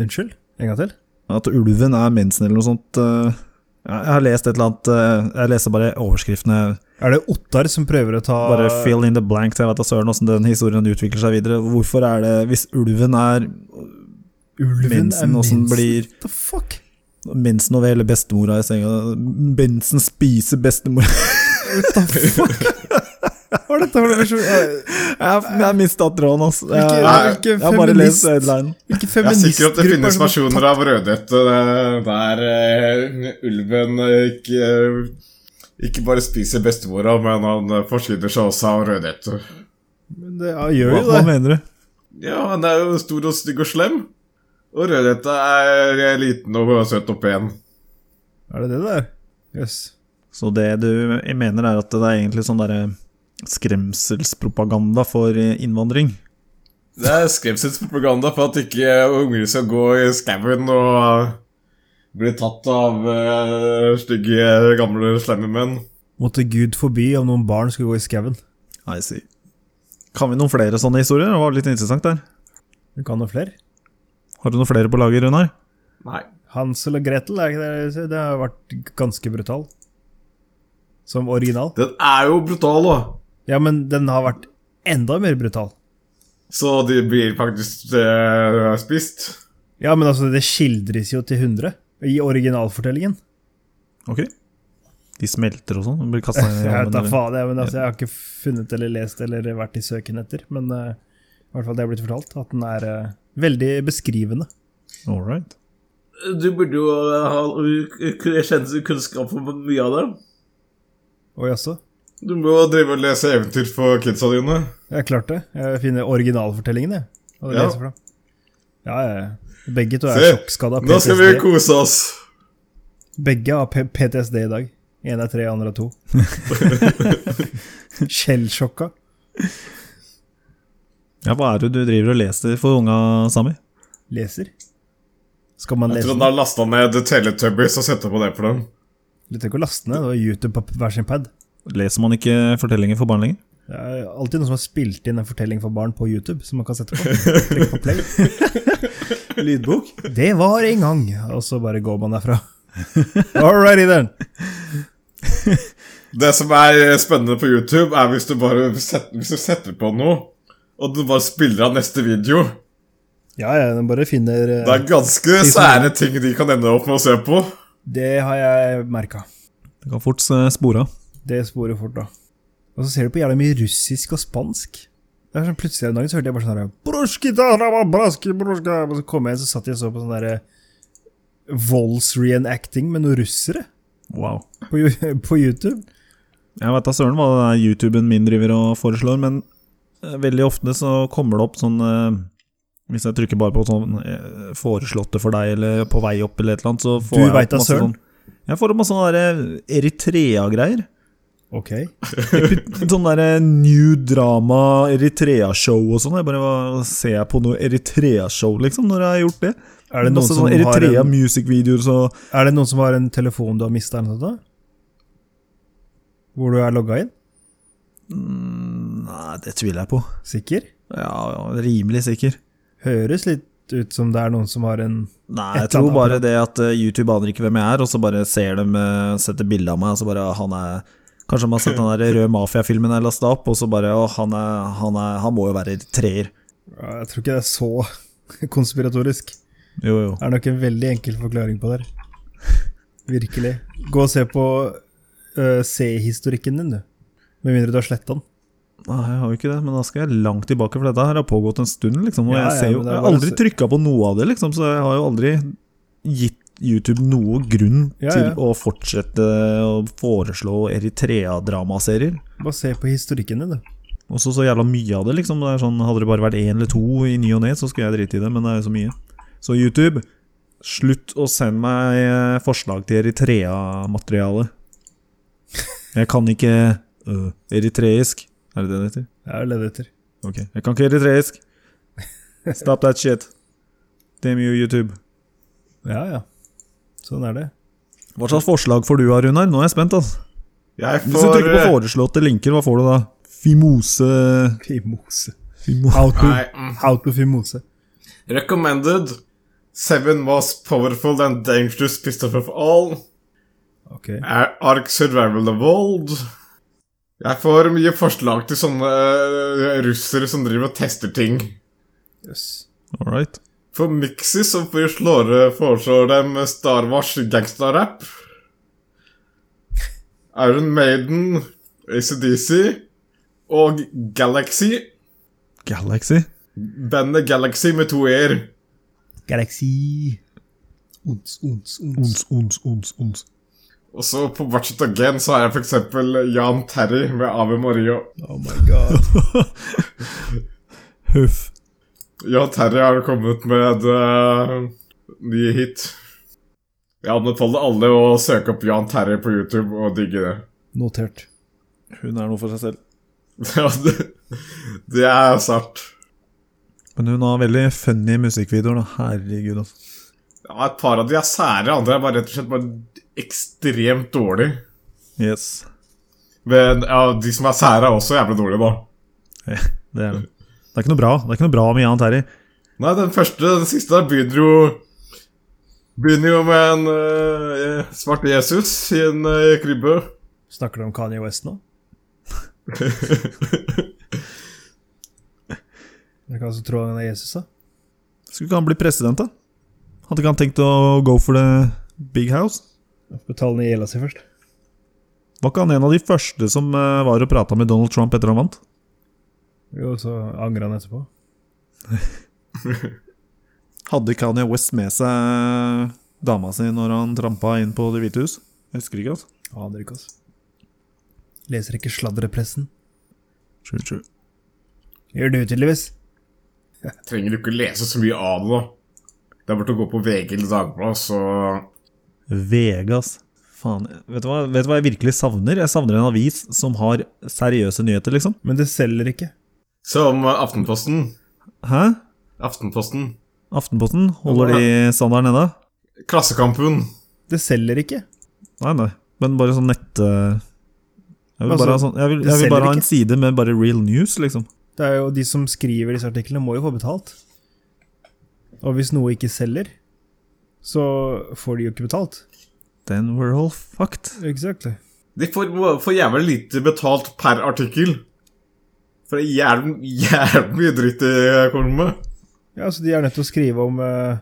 Speaker 1: Unnskyld? En gang til?
Speaker 3: At ulven er mensen eller noe sånt. eh. Jeg jeg har lest et eller annet eh, Jeg leser bare overskriftene.
Speaker 1: Er det Ottar som prøver å ta
Speaker 3: Bare fill in the blanks. Jeg vet da søren åssen den historien utvikler seg videre. Hvorfor er det, hvis ulven er
Speaker 1: ulven? er
Speaker 3: mensen,
Speaker 1: mensen?
Speaker 3: åssen blir
Speaker 1: What the fuck?
Speaker 3: mensen over hele bestemora i senga. Mensen spiser bestemora *laughs*
Speaker 1: What the fuck? Hva er dette *laughs* for noe versjon? Eh,
Speaker 3: Jeg, jeg mista tråden, altså. Jeg,
Speaker 1: Hvilke- hvilke
Speaker 3: jeg har bare
Speaker 1: feminist-
Speaker 3: lest headlinen.
Speaker 1: Hvilken
Speaker 2: Jeg er sikker at det
Speaker 1: feministgruppe er
Speaker 2: finnes
Speaker 1: det som
Speaker 2: versjoner av Rødhette eh, der eh, ulven eh, ikke, eh, ikke bare spiser bestemora, men han eh, forsyner seg også av Rødhette.
Speaker 1: Men det ja, gjør
Speaker 3: Hva,
Speaker 1: jo
Speaker 3: hva
Speaker 1: det.
Speaker 3: mener du?
Speaker 2: Ja, han er jo stor og stygg og slem. Og Rødhette er eh, liten og søt og pen.
Speaker 1: Er det det der? Jøss.
Speaker 3: Så det du mener, er at det er egentlig sånn derre skremselspropaganda for eh, innvandring?
Speaker 2: Det er skremselspropaganda for at ikke unger skal gå i skauen og bli tatt av eh, stygge, gamle, slemme menn.
Speaker 1: Måtte Gud forby om noen barn skulle gå i skauen.
Speaker 3: I see. Kan vi noen flere sånne historier? Det var litt interessant der.
Speaker 1: Du kan noe flere?
Speaker 3: Har du noen flere på lager, Runar?
Speaker 2: Nei.
Speaker 1: Hansel og Gretel, er ikke det det har vært ganske brutal. Som original.
Speaker 2: Den er jo brutal, da.
Speaker 1: Ja, men den har vært enda mer brutal.
Speaker 2: Så de blir faktisk eh, spist.
Speaker 1: Ja, men altså, det skildres jo til 100 i originalfortellingen.
Speaker 3: Ok. De smelter og sånn? og Blir kasta
Speaker 1: *laughs*
Speaker 3: i
Speaker 1: Jeg vet da
Speaker 3: ovnen, eller?
Speaker 1: faen, jeg, men altså, jeg har ikke funnet eller lest eller vært i søken etter, men eh, i hvert fall det er blitt fortalt, at den er eh, veldig beskrivende.
Speaker 3: All right.
Speaker 5: Du burde jo eh, ha kunne kjenne kunnskap om mye av det.
Speaker 1: Og jaså?
Speaker 2: Du må jo drive og lese eventyr for kidsa dine.
Speaker 1: Jeg klarte det. Jeg finner originalfortellingen, jeg. Og det
Speaker 2: Ja.
Speaker 1: leser fra. Ja, ja, ja. Begge to er
Speaker 2: Se,
Speaker 1: sjokkskada av
Speaker 2: Nå skal vi
Speaker 1: PTSD.
Speaker 2: kose oss.
Speaker 1: Begge har P PTSD i dag. Én er tre, andre er
Speaker 2: *laughs*
Speaker 1: to. Skjellsjokka.
Speaker 3: Ja, hva er det du driver og leser for unga, Sami?
Speaker 1: Leser. Skal man
Speaker 2: Jeg tror
Speaker 1: lese
Speaker 2: han har lasta ned Teletubbies og setter på det for dem.
Speaker 1: Du trenger ikke å laste ned. Det var YouTube på hver sin pad.
Speaker 3: Leser man ikke fortellinger for barn lenger?
Speaker 1: Det er alltid noen som har spilt inn en fortelling for barn på YouTube, som man kan sette på. Trykke på play.
Speaker 2: *laughs*
Speaker 3: Lydbok?
Speaker 1: Det var en gang, og så bare går man derfra. Alrighty then.
Speaker 2: Det som er spennende på YouTube, er hvis du bare setter, hvis du setter på noe, og du bare spiller av neste video.
Speaker 1: Ja, ja, den bare finner eh,
Speaker 2: Det er ganske
Speaker 1: som-
Speaker 2: sære ting de kan ende opp med å se på.
Speaker 1: Det har jeg merka.
Speaker 3: Det kan fort eh, spore av.
Speaker 1: Det sporer fort, da. Og så ser du på jævla mye russisk og spansk. Det er sånn Plutselig en dag så hørte jeg bare sånn her «Broski, tarama, braski, broska», Og så kom jeg inn, så satt jeg og så på sånn derre Vols-reenacting med noen russere
Speaker 3: Wow.
Speaker 1: på, Yo- *laughs* på YouTube.
Speaker 3: Jeg veit da søren hva det er YouTuben min driver og foreslår, men eh, veldig ofte så kommer det opp sånn eh, Hvis jeg trykker bare på sånn eh, 'foreslåtte for deg' eller 'på vei opp' eller et eller annet, så får
Speaker 1: Du
Speaker 3: jeg
Speaker 1: vet da
Speaker 3: opp masse
Speaker 1: søren.
Speaker 3: sånn Jeg får opp masse sånne der, eh, Eritrea-greier. *laughs*
Speaker 1: Ok.
Speaker 3: Sånn der eh, new drama, Eritrea-show og sånn. Jeg bare hva- Ser jeg på noe Eritrea-show, liksom, når jeg har gjort det?
Speaker 1: Er det noen
Speaker 3: masse
Speaker 1: som
Speaker 3: sånne
Speaker 1: har en,
Speaker 3: Eritrea-music-videoer, så
Speaker 1: er det noen som har en telefon du har mista eller noe sånt? da? Hvor du er logga inn?
Speaker 3: Nei, det tviler jeg på.
Speaker 1: Sikker?
Speaker 3: Ja, ja, rimelig sikker.
Speaker 1: Høres litt ut som det er noen som har en
Speaker 3: Nei,
Speaker 1: Et
Speaker 3: jeg
Speaker 1: eller
Speaker 3: tror
Speaker 1: annet
Speaker 3: bare det at eh, YouTube aner ikke hvem jeg er, og så bare ser de eh, setter bilde av meg, og så bare han er Kanskje de har sett den der røde mafiafilmen jeg lasta opp, og så bare Å, han, er, han, er, han må jo være treer.
Speaker 1: Ja, Jeg tror ikke det er så *laughs* konspiratorisk.
Speaker 3: Jo, jo.
Speaker 1: Det er nok en veldig enkel forklaring på det. her. Virkelig. Gå og se på øh, C-historikken din, du. Med mindre du har sletta den.
Speaker 3: Nei, jeg har jo ikke det, men da skal jeg langt tilbake, for dette her har pågått en stund, liksom. Og
Speaker 1: Ja,
Speaker 3: jeg
Speaker 1: ja,
Speaker 3: ser jo
Speaker 1: men det er
Speaker 3: Jeg har
Speaker 1: bare å
Speaker 3: aldri
Speaker 1: se-
Speaker 3: trykka på noe av det, liksom, så jeg har jo aldri gitt YouTube noe grunn
Speaker 1: Ja,
Speaker 3: til
Speaker 1: ja.
Speaker 3: å fortsette å foreslå Eritrea-dramaserier.
Speaker 1: Bare se på historikken din, du.
Speaker 3: Og så så jævla mye av det, liksom. Det er sånn, hadde det bare vært én eller to i ny og ne, så skulle jeg drite i det, men det er jo så mye. Så YouTube, slutt å sende meg eh, forslag til Eritrea-materiale. Jeg kan ikke øh, eritreisk. Er det det det heter?
Speaker 1: Jeg er ledd etter.
Speaker 3: Ok. Jeg kan ikke eritreisk. Stop that shit. Damn you, YouTube.
Speaker 1: Ja, ja. Sånn er det.
Speaker 3: Hva slags forslag får du av, Runar? Nå er jeg spent, altså.
Speaker 2: Jeg
Speaker 3: Hvis du
Speaker 2: får
Speaker 3: trykker på foreslåtte linker, hva får du da? Fimose
Speaker 1: Fimose.
Speaker 3: Fimo...
Speaker 1: How to,
Speaker 2: Nei, mm.
Speaker 1: how to fimose.
Speaker 2: recommended. Seven most powerful and dangerous pistols of all.
Speaker 1: Ok.
Speaker 2: Er Ark Survival Evolved. Jeg får mye forslag til sånne eh, russere som driver og tester ting.
Speaker 1: Jøss.
Speaker 3: All right.
Speaker 2: For Mixi så foreslår, foreslår dem Star Wars gangsterrap. Iron Maiden, ACDC og Galaxy.
Speaker 3: Galaxy.
Speaker 2: Bandet Galaxy med to e-er.
Speaker 1: Galaxy. Ons, ons, ons.
Speaker 3: Ons, ons, ons, ons.
Speaker 2: Og så på Watchet Again så er jeg f.eks. Jan Terry med Ave Maria.
Speaker 1: Oh my god.
Speaker 3: Huff.
Speaker 2: Jan Terry har kommet med eh, nye hit. Jeg anbefaler alle å søke opp Jan Terry på YouTube og digge det. *laughs*
Speaker 1: Notert.
Speaker 3: Hun er noe for seg selv.
Speaker 2: Ja, det- det er sært.
Speaker 3: Men hun har veldig funny musikkvideoer, da. Herregud, altså.
Speaker 2: Ja, et par av de er sære, andre er bare rett og slett bare ekstremt dårlig.
Speaker 3: Yes.
Speaker 2: Men ja, de som er sære, er også jævlig dårlige, da.
Speaker 3: Det er det. Det er ikke noe bra Det er ikke noe bra med Jan Terry.
Speaker 2: Nei, den første, den siste der begynner jo Begynner jo med en eh, svart Jesus i en eh, krybbe.
Speaker 1: Snakker du om Kanye West nå? Jeg kan altså tro han er Jesus, da.
Speaker 3: Skulle ikke han bli president, da? Hadde ikke han tenkt å go for the big house?
Speaker 1: Betal ned gjelda si først.
Speaker 3: Var ikke han en av de første som eh, var og prata med Donald Trump etter han vant?
Speaker 1: Jo, så angrer han etterpå.
Speaker 3: Hadde Kanye West med seg eh, dama si når han trampa inn på Det hvite hus? Jeg husker ikke, altså.
Speaker 1: Aner ikke, altså. Leser ikke sladrepressen.
Speaker 3: True, true.
Speaker 1: Gjør du tydeligvis.
Speaker 2: Trenger du ikke lese så mye av det, da. Det er bare til å gå på VG eller Dagbladet, så
Speaker 3: Vegas. Faen. Vet du, hva, vet du hva jeg virkelig savner? Jeg savner en avis som har seriøse nyheter, liksom.
Speaker 1: Men det selger ikke.
Speaker 2: Som eh, Aftenposten.
Speaker 3: Hæ?
Speaker 2: Aftenposten.
Speaker 3: Aftenposten? Holder de sånn standarden ennå?
Speaker 2: Klassekampen.
Speaker 1: Det selger ikke.
Speaker 3: Nei, nei. Men bare sånn nett... eh, Jeg vil
Speaker 1: Altså,
Speaker 3: bare, ha, sånn, jeg vil,
Speaker 1: det
Speaker 3: jeg vil
Speaker 1: selger
Speaker 3: bare ha en
Speaker 1: ikke.
Speaker 3: side med bare real news, liksom.
Speaker 1: Det er jo De som skriver disse artiklene, må jo få betalt. Og hvis noe ikke selger, så får de jo ikke betalt.
Speaker 3: Then we're all fucked.
Speaker 1: Exactly.
Speaker 2: De får, må- får jævlig lite betalt per artikkel. For det er jævlig, jævlig mye dritt eh, de kommer med.
Speaker 1: Ja, så De er nødt til å skrive om eh,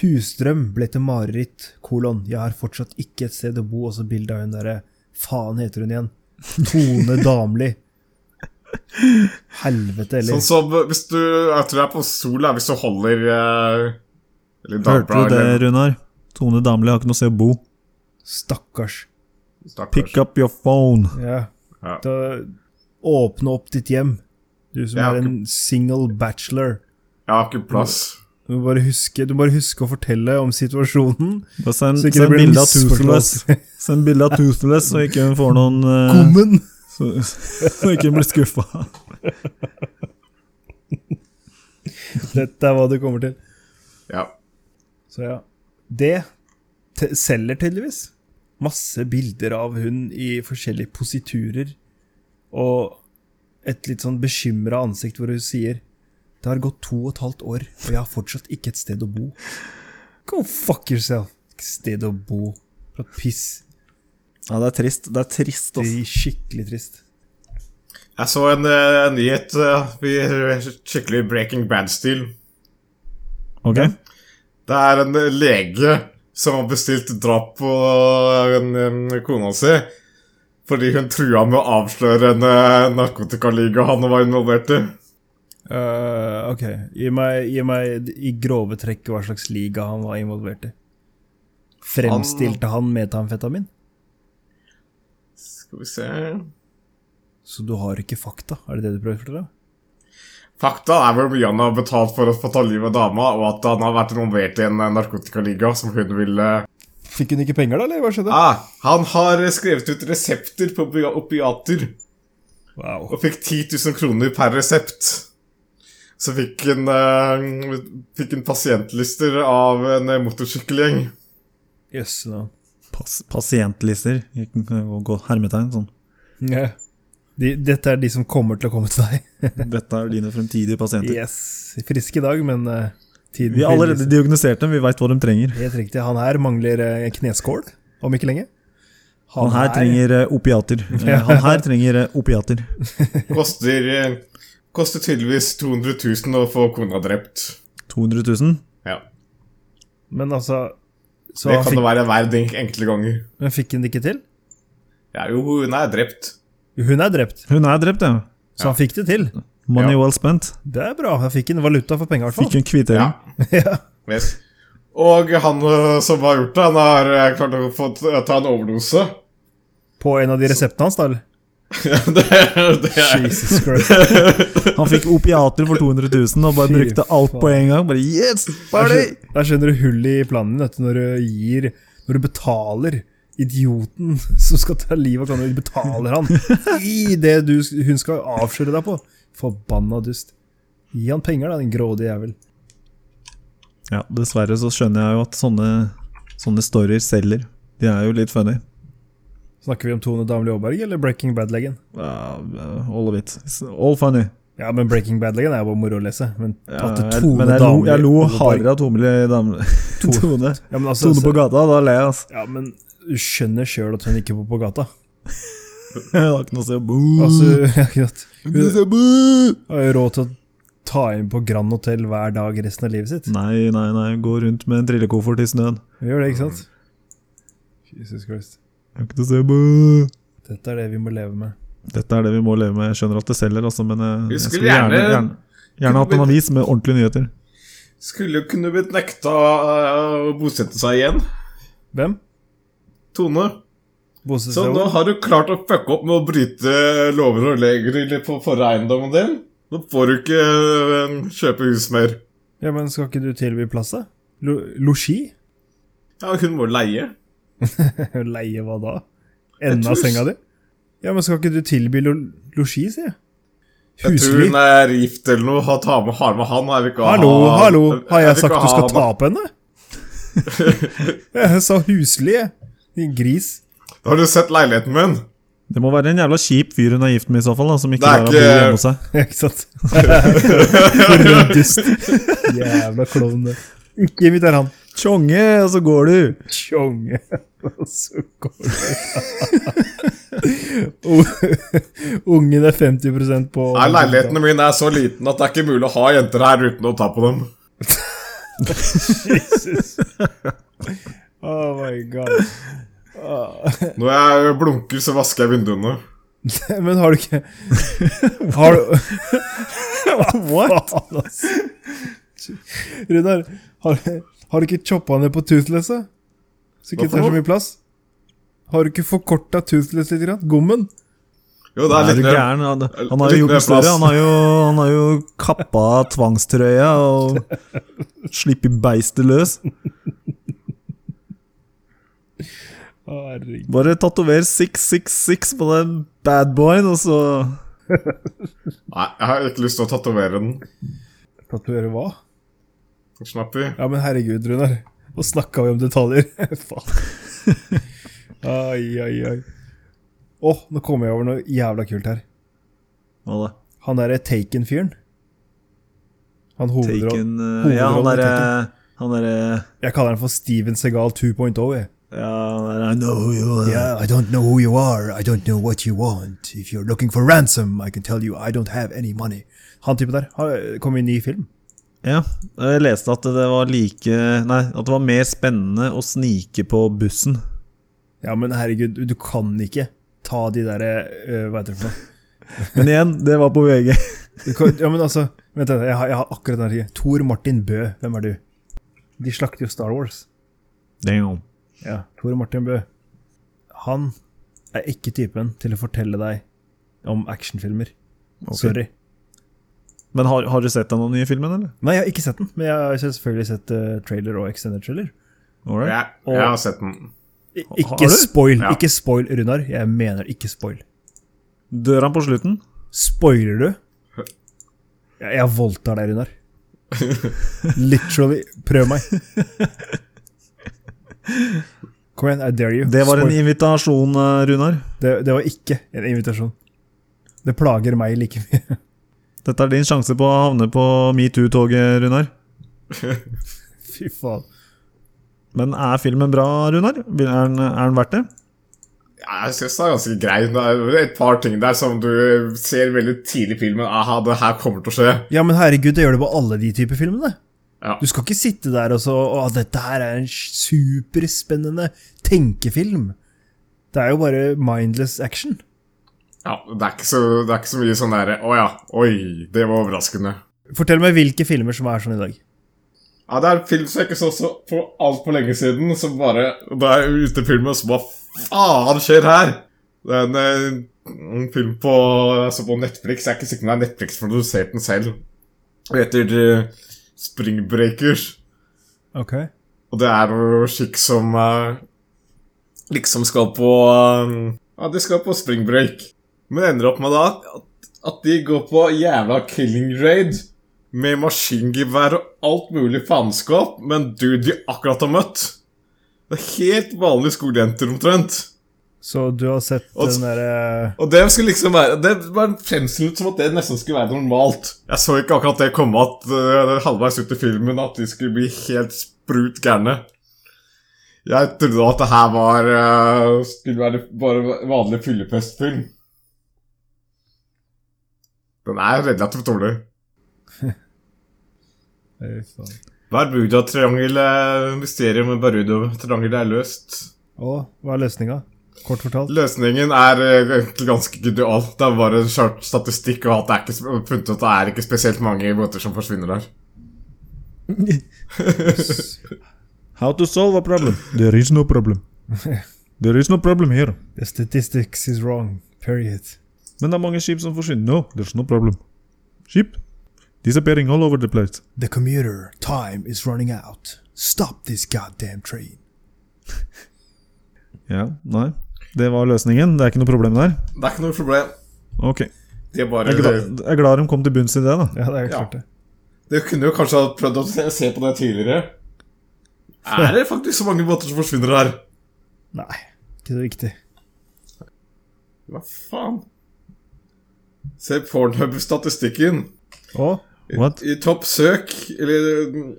Speaker 1: Husdrøm ble til mareritt, kolon. Jeg har fortsatt ikke et sted å bo, og så bilde av hun derre Faen heter hun igjen. Tone Damli. Helvete heller.
Speaker 2: Sånn som eh, hvis du Jeg tror det er på Sola hvis du holder eh, Eller
Speaker 3: Hørte du
Speaker 2: Dagbladet
Speaker 3: det,
Speaker 2: eller
Speaker 3: Runar? Tone Damli har ikke noe sted å bo.
Speaker 1: Stakkars.
Speaker 2: Stakkars.
Speaker 3: Pick up your phone.
Speaker 1: Ja.
Speaker 2: Ja.
Speaker 1: Da, åpne opp ditt hjem, du som
Speaker 2: Jeg har
Speaker 1: er en single bachelor.
Speaker 2: Jeg har ikke plass.
Speaker 1: Du må, bare huske, du må bare huske å fortelle om situasjonen.
Speaker 3: Bare Send,
Speaker 1: Så ikke
Speaker 3: send
Speaker 1: det blir
Speaker 3: bilde av Toothless,
Speaker 1: misforståelse.
Speaker 3: Send bilde av Toothless, så ikke hun får noen eh,
Speaker 1: Gommen!
Speaker 3: så, så ikke hun blir skuffa.
Speaker 1: Dette er hva du kommer til.
Speaker 2: Ja.
Speaker 1: Så ja. Det te- selger tydeligvis. Masse bilder av hun i forskjellige positurer. Og et litt sånn bekymra ansikt hvor hun sier Det har gått to og et halvt år, og jeg har fortsatt ikke et sted å bo. Go fuck yourself. Ikke sted å bo. For et piss.
Speaker 3: Ja, det er trist. Det er trist,
Speaker 1: Det
Speaker 3: altså.
Speaker 1: er skikkelig trist.
Speaker 2: Jeg så en eh, nyhet eh, i skikkelig Breaking Bad-stil.
Speaker 3: Ok?
Speaker 2: Det er en lege som har bestilt drap på eh, en, en kona si fordi hun trua med å avsløre en eh, narkotikaliga han var involvert i.
Speaker 1: Eh, ok, gi meg, gi meg i grove trekk hva slags liga han var involvert i. Fremstilte han metamfetamin?
Speaker 2: Skal vi se
Speaker 1: Så du har ikke fakta, er det det du prøver å fortelle?
Speaker 2: Fakta er hvor mye han har betalt for å få ta livet av dama, og at han har vært involvert i en eh, narkotikaliga som hun ville
Speaker 1: Fikk hun ikke penger da, eller hva skjedde?
Speaker 2: ah, Han har skrevet ut resepter på opi- opiater
Speaker 1: Wow.
Speaker 2: og fikk 10 000 kroner per resept. Så fikk han eh, fikk en pasientlister av en eh, motorsykkelgjeng.
Speaker 1: Jøss, nå.
Speaker 3: Pas pasientlister. Jeg kan gå- gå Hermetegn. Sånn.
Speaker 1: De, dette er de som kommer til å komme til
Speaker 3: *laughs*
Speaker 1: deg.
Speaker 3: Dette er dine fremtidige pasienter.
Speaker 1: Yes. Frisk i dag, men eh, tiden
Speaker 3: Vi har allerede diagnosert dem, vi veit hva de trenger.
Speaker 1: Helt riktig. Han her mangler eh, kneskål, om ikke lenge.
Speaker 3: Han her trenger eh, *laughs* opiater. Eh, Han her trenger eh, opiater.
Speaker 2: Koster, eh, koster tydeligvis 200 000 å få kona drept.
Speaker 3: 200 000?
Speaker 2: Ja.
Speaker 1: Men altså Så
Speaker 2: Det
Speaker 1: han
Speaker 2: kan det
Speaker 1: fikk,
Speaker 2: være hver enk- enkelte ganger.
Speaker 1: men fikk hun det ikke til?
Speaker 2: Ja, jo, hun er drept.
Speaker 1: Hun er drept,
Speaker 3: Hun er drept, ja.
Speaker 1: så han fikk det til.
Speaker 3: Money
Speaker 2: Ja.
Speaker 3: well spent.
Speaker 1: Det er bra. Han fikk en valuta for penger, i hvert fall.
Speaker 3: Fikk en kvittering.
Speaker 2: Ja. Yes. Og han eh, som har gjort det, han har eh, klart å få t- ta en overdose. *laughs*
Speaker 1: På en av de reseptene hans, da. eller?
Speaker 2: det, det er
Speaker 1: Jesus Christ.
Speaker 3: Han fikk opiater for 200 000 og bare
Speaker 1: Fy
Speaker 3: brukte alt på en gang. Bare yes, party!
Speaker 1: Der skjønner du hullet i planen din vet du, når du gir Når du betaler idioten *laughs* som skal ta livet av kona di, betaler han i det du, hun skal avsløre deg på. Forbanna dust. Gi han penger, da, den grådige jævel.
Speaker 3: Ja, dessverre så skjønner jeg jo at sånne, sånne stories selger. De er jo litt funny.
Speaker 1: Snakker vi om Tone Damli Aaberg eller Breaking Bad-legen?
Speaker 3: Ja, all of it. It's all funny.
Speaker 1: Ja, men Breaking Bad-legen er jo bare moro å lese. Men
Speaker 3: Ja,
Speaker 1: tatt til
Speaker 3: jeg-
Speaker 1: Tone
Speaker 3: men jeg lo,
Speaker 1: Damli
Speaker 3: jeg lo
Speaker 1: og Odd Borg.
Speaker 3: hardere av Tomli Damli. Tone.
Speaker 1: Ja, men altså,
Speaker 3: Tone på gata, da ler jeg, *laughs* altså.
Speaker 1: Ja, men du skjønner sjøl at hun ikke bor på gata.
Speaker 3: Jeg har ikke noe å si. Boo.
Speaker 1: Altså, *laughs* ja, ikke sant.
Speaker 3: Ikke noe å si, boo.
Speaker 1: Har jo råd til å ta inn på Grand Hotel hver dag resten av livet sitt.
Speaker 3: Nei, nei, nei. Gå rundt med en trillekoffert i snøen.
Speaker 1: Hun gjør det, ikke sant? Jesus Christ.
Speaker 3: Jeg har ikke noe å si. Boo.
Speaker 1: Dette er det vi må leve med.
Speaker 3: Dette er det vi må leve med. Jeg skjønner at det selger, altså, men jeg,
Speaker 2: Vi
Speaker 3: jeg
Speaker 2: skulle
Speaker 3: skulle gjerne,
Speaker 2: gjerne-
Speaker 3: gjerne, gjerne hatt en avis med ordentlige nyheter.
Speaker 2: Skulle jo kunne blitt nekta eh, å bosette seg igjen.
Speaker 1: Hvem?
Speaker 2: Tone.
Speaker 1: Bosted
Speaker 2: Så nå har du klart å fucke opp med å bryte lover og regler på forrige eiendommen din. Nå får du ikke eh, kjøpe hus mer.
Speaker 1: Ja, men skal ikke du tilby plass, da? Lo- Losji?
Speaker 2: Ja, hun må leie.
Speaker 1: *laughs* Leie hva da? Enden av
Speaker 2: tror-
Speaker 1: senga di? Ja, men skal ikke du tilby lo losji, sier jeg.
Speaker 2: Jeg tror
Speaker 1: Husly.
Speaker 2: hun er gift eller noe. Har, tar med, har med han. Jeg vil ikke ha
Speaker 1: Hallo, hallo, har jeg
Speaker 2: vil
Speaker 1: sagt
Speaker 2: ikke
Speaker 1: du skal
Speaker 2: ha-
Speaker 1: tape
Speaker 2: *laughs*
Speaker 1: henne? *laughs* Jeg sa huslig, jeg. Din gris.
Speaker 2: Har du sett leiligheten min?
Speaker 3: Det må være en jævla kjip fyr hun er gift med, i så fall, da, som ikke
Speaker 2: Det er
Speaker 3: lar henne bo
Speaker 2: ikke-
Speaker 3: hjemme hos seg.
Speaker 1: *laughs* Ikke sant? *laughs* Rødust. Jævla klovn, det. Ikke inviter han.
Speaker 3: Tjonge, og så går du!
Speaker 1: Tjonge. Og så går *laughs* det Ungen er 50 på
Speaker 2: Nei, leilighetene mine er så liten at det er ikke mulig å ha jenter her uten å ta på dem.
Speaker 1: Oh my god.
Speaker 2: Når jeg blunker, så vasker jeg vinduene.
Speaker 1: *laughs* Men har du ikke Har du *laughs* What? Runar, har, har du ikke choppa ned på toothlesset? Så ikke
Speaker 2: Hva for
Speaker 1: tar så
Speaker 2: noe?
Speaker 1: mye plass? Har du ikke forkorta toothless litt? Grann? Gommen?
Speaker 2: Jo, det
Speaker 3: Er
Speaker 2: er
Speaker 3: du
Speaker 2: litt mer.
Speaker 3: gæren? Han, han har
Speaker 2: litt
Speaker 3: jo gjort
Speaker 2: mer
Speaker 3: den større.
Speaker 2: plass.
Speaker 3: Han har jo, han har jo kappa tvangstrøya og sluppet beistet løs.
Speaker 1: Herregud.
Speaker 3: Bare tatover 666 på den badboyen, og så
Speaker 2: Nei, jeg har ikke lyst til å tatovere den.
Speaker 1: Tatovere hva?
Speaker 2: Slapp i.
Speaker 1: Ja, men herregud, Runar. Nå snakka vi om detaljer. *laughs* Faen. Ai, ai, ai. Å, nå kommer jeg over noe jævla kult her.
Speaker 3: Hva da?
Speaker 1: Han derre Taken-fyren. Han hovedrollen.
Speaker 3: Taken eh, Ja, han derre Han derre
Speaker 1: Jeg kaller han for Steven Segal 2.0. oh, jeg.
Speaker 3: Ja, han derre I know who you are.
Speaker 1: Yeah, Uh, I don't know who you are, I don't know what you want. If you're looking for ransom, I can tell you I don't have any money. Han typen der har- kom i en ny film.
Speaker 3: Ja, jeg leste at det var like Nei, at det var mer spennende å snike på bussen.
Speaker 1: Ja, men herregud, du kan ikke ta de derre øh, Hva heter det for noe?
Speaker 3: Men igjen, det var på VG.
Speaker 1: Du kan- Ja, men altså, vent, litt, jeg har, jeg har akkurat den her. Tor Martin Bø, hvem er du? De slakter jo Star Wars.
Speaker 3: Damn.
Speaker 1: Ja, Tor Martin Bø. Han er ikke typen til å fortelle deg om actionfilmer. Sorry.
Speaker 3: Men har, har du sett den nye filmen, eller?
Speaker 1: Nei, jeg har ikke sett den, men jeg har selvfølgelig sett eh, trailer og extended trailer.
Speaker 3: All right.
Speaker 2: Jeg, jeg har sett den.
Speaker 1: I-
Speaker 3: Har
Speaker 1: Ikke
Speaker 3: du?
Speaker 1: spoil,
Speaker 2: Ja.
Speaker 1: ikke spoil, Runar. Jeg mener ikke spoil.
Speaker 3: Dør han på slutten?
Speaker 1: Spoiler du? Jeg, jeg voldtar deg,
Speaker 3: *laughs*
Speaker 1: Runar. Literally. Prøv meg. Kom igjen, I dare you.
Speaker 3: Det var en
Speaker 1: Spoil.
Speaker 3: invitasjon, eh, Runar.
Speaker 1: det, det var ikke en invitasjon. Det plager meg like mye. *laughs*
Speaker 3: Dette er din sjanse på å havne på metoo-toget, Runar.
Speaker 1: Fy faen.
Speaker 3: Men er filmen bra, Runar? Vil- Er den, er den verdt det?
Speaker 2: Ja, jeg synes det er ganske greit. Det er et par ting der som du ser veldig tidlig i filmen. Aha, det her kommer til å skje.
Speaker 1: Ja, men herregud, det gjør det på alle de typer filmene.
Speaker 2: Ja.
Speaker 1: Du skal ikke sitte der og så Å, dette her er en superspennende tenkefilm. Det er jo bare mindless action.
Speaker 2: Ja, det er ikke så, det er ikke så mye sånn derre Å ja, oi, det var overraskende.
Speaker 1: Fortell meg hvilke filmer som er sånn i dag.
Speaker 2: Ja, det er en film som jeg ikke så, så for altfor lenge siden, som bare Da er jeg ute i filmen, og så hva faen skjer her? Det er en, eh, en film på, jeg så på Netflix. Jeg er ikke sikker på om det er Netflix som produserte den selv. Det heter eh, Spring Breakers.
Speaker 1: Ok.
Speaker 2: Og det er jo slik som eh, liksom skal på eh, Ja, de skal på springbreak. Men ender opp med da at, at de går på jævla killing raid med maskingevær og alt mulig faenskap, men du de akkurat har møtt. Det er helt vanlige skolejenter omtrent.
Speaker 1: Så du har sett
Speaker 2: Og s-
Speaker 1: den eh, derre
Speaker 2: Og det skulle liksom være Det var fremstilt som at det nesten skulle være normalt. Jeg så ikke akkurat det komme at eh, halvveis ut i filmen at de skulle bli helt sprut gærne. Jeg trodde at det her var eh, skulle være bare vanlig fyllefestfilm. Den er relativt dårlig.
Speaker 1: Fy faen.
Speaker 2: Barbuda-triangelet Mysteriet eh, med Barbuda-triangelet er løst.
Speaker 1: Å, hva er løsninga? Kort fortalt.
Speaker 2: Løsningen er eh, egentlig ganske genial. Det er bare skjørt statistikk og at det er ikke, sp- funnet ut at det er ikke spesielt mange båter som forsvinner der.
Speaker 3: How to solve a problem? There is no *laughs* problem. There is no problem here.
Speaker 1: The statistics is wrong. Period.
Speaker 3: Men det er mange skip som forsvinner. No, there's no problem. Skip disappearing all over the place.
Speaker 1: The commuter. Time is running out. Stop this goddamn train.
Speaker 3: Ja, nei. Det var løsningen. Det er ikke noe problem der.
Speaker 2: Det er ikke noe problem.
Speaker 3: Ok.
Speaker 2: Det er bare
Speaker 3: Jeg er glad, jeg er glad de kom til bunns i det, da.
Speaker 1: Ja, det er jo
Speaker 2: Ja.
Speaker 1: klart, det.
Speaker 2: Det kunne jo kanskje ha prøvd å se- se på det tidligere. Er det faktisk så mange båter som forsvinner her?
Speaker 1: Nei, ikke så viktig.
Speaker 2: Hva faen? Se Pornhub-statistikken.
Speaker 1: Å,
Speaker 3: What?
Speaker 2: I topp søk, eller mm,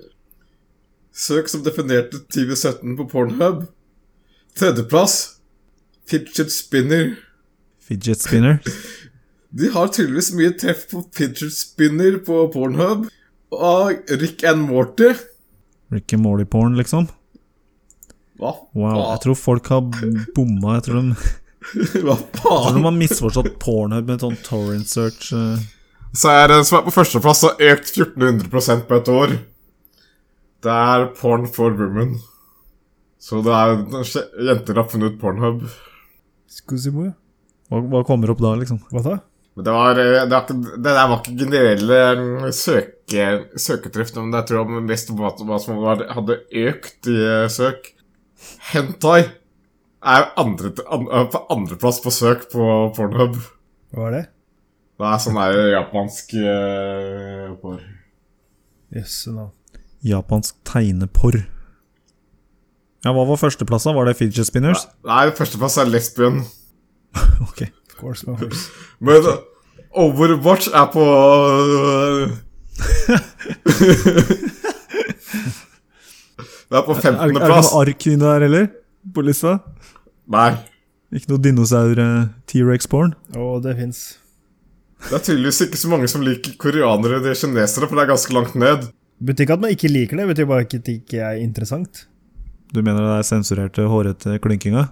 Speaker 2: Søk som definerte 2017 på Pornhub. Tredjeplass. Fidget spinner.
Speaker 3: Fidget spinner.
Speaker 2: De har tydeligvis mye treff på fidget spinner på Pornhub. Og Rick and Morty.
Speaker 3: Rick and Morty-porn, liksom.
Speaker 2: Hva
Speaker 3: Wow. Jeg
Speaker 2: faen?
Speaker 3: tror folk har bomma. Jeg tror de, jeg
Speaker 2: Hva
Speaker 3: tror
Speaker 2: faen?
Speaker 3: de har misforstått Pornhub med sånn torrent search. eh.
Speaker 2: Så er den som er på førsteplass, har økt 1400 på et år. Det er porn for women. Så det er jenter har funnet Pornhub.
Speaker 1: Skuzimo?
Speaker 3: Hva, hva kommer opp da, liksom?
Speaker 1: Hva da?
Speaker 2: Men det var, eh, det var ikke, det der var ikke generelle mm, søke, søketreff, men det tror jeg var mest hva, hva som var, hadde økt i eh, søk. Hentai er andre, an, er på andreplass på søk på Pornhub.
Speaker 1: Hva er det?
Speaker 2: Det er sånn der japansk eh, porn.
Speaker 1: Jøsse navn.
Speaker 3: Japansk tegneporr. Ja, hva var førsteplass, da? Var det fidget spinners?
Speaker 2: Nei, førsteplass er lesbien.
Speaker 3: Ok.
Speaker 1: Of course, my horse.
Speaker 2: Men Overwatch er på øh, *laughs* Det er på
Speaker 3: Er, er det
Speaker 2: 15.
Speaker 3: ikke
Speaker 2: plass.
Speaker 3: noe ark inni der heller? På lista?
Speaker 2: Nei.
Speaker 3: Ikke noe eh, dinosaur-T-rex-porn?
Speaker 1: Å, det fins.
Speaker 2: Det er tydeligvis ikke så mange som liker koreanere eller kinesere, for det er ganske langt ned.
Speaker 1: Betyr ikke at man ikke liker det, betyr bare ikke at det ikke er interessant.
Speaker 3: Du mener det er sensurerte, hårete klynkinger?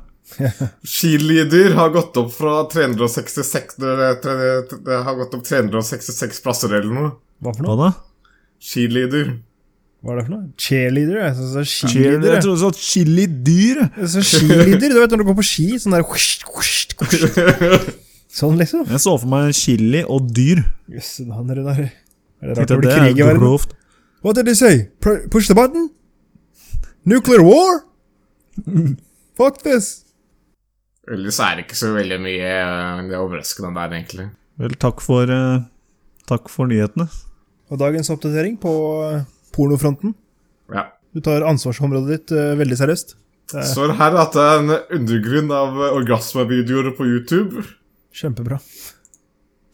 Speaker 2: Cheerleader har gått opp fra 366 det- det- det- Det har gått opp 366 plasser eller noe.
Speaker 1: Hva for
Speaker 3: Hva
Speaker 1: noe?
Speaker 3: da?
Speaker 2: Cheerleader.
Speaker 1: Hva er det for noe? Cheerleader? Jeg synes det er cheerleader.
Speaker 3: Cheerleader? Jeg
Speaker 1: jeg.
Speaker 3: trodde du sa chili-dyr!
Speaker 1: Jeg synes cheerleader, du vet når du går på ski, sånn der husht, husht, husht. Sånn liksom.
Speaker 3: Jeg så for meg chili og dyr.
Speaker 1: Jøsse navn, det der. Er det rart det
Speaker 3: Tenkte jeg,
Speaker 1: blir
Speaker 3: det
Speaker 1: krig i
Speaker 3: er
Speaker 1: verden?
Speaker 3: grovt.
Speaker 1: What did they say? Pr push the button? Nuclear war? Fuck this!
Speaker 2: Ellers er det ikke så veldig mye øh, det er overraskende der, egentlig.
Speaker 3: Vel, takk for eh, Takk for nyhetene.
Speaker 1: Og dagens oppdatering på eh, pornofronten.
Speaker 2: Ja.
Speaker 1: Du tar ansvarsområdet ditt eh, veldig seriøst. Det er
Speaker 2: Står her at det er en undergrunn av øh, orgasmevideoer på YouTube.
Speaker 1: kjempebra.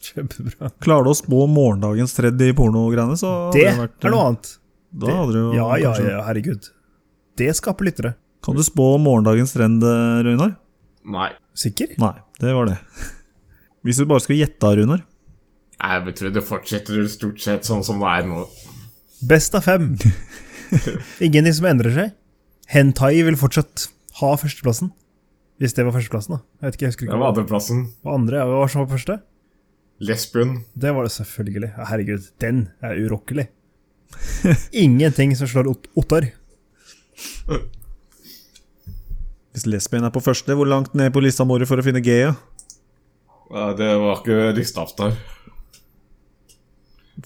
Speaker 1: Kjempebra.
Speaker 3: Klarer du å spå morgendagens tredd i pornogreiene, så hadde
Speaker 1: Det
Speaker 3: vært, eh,
Speaker 1: er noe annet.
Speaker 3: Da hadde det jo
Speaker 1: Ja, ja,
Speaker 3: kanskje-
Speaker 1: ja, herregud. Det skaper lyttere.
Speaker 3: Kan du spå morgendagens trend, eh, Runar?
Speaker 2: Nei.
Speaker 1: Sikker?
Speaker 3: Nei, det var det. *laughs* Hvis du bare skulle gjette, Runar
Speaker 2: Jeg tror det fortsetter stort sett sånn som det er nå.
Speaker 1: Best av
Speaker 3: *laughs*
Speaker 1: fem. Ingen som endrer seg. Hentai vil fortsatt ha førsteplassen. Hvis det var førsteplassen, da. Jeg vet ikke, jeg husker
Speaker 2: Det
Speaker 1: ikke.
Speaker 2: var andreplassen.
Speaker 1: Hva andre hva var som var første?
Speaker 2: Lesbien.
Speaker 1: Det var det selvfølgelig. Ja, Herregud, den er
Speaker 3: *laughs*
Speaker 1: urokkelig. Ingenting som slår Ot- Ottar.
Speaker 3: Hvis lesbien er på første, hvor langt ned på lista må du for å finne G-a?
Speaker 2: Ja, Det var ikke lista opp der.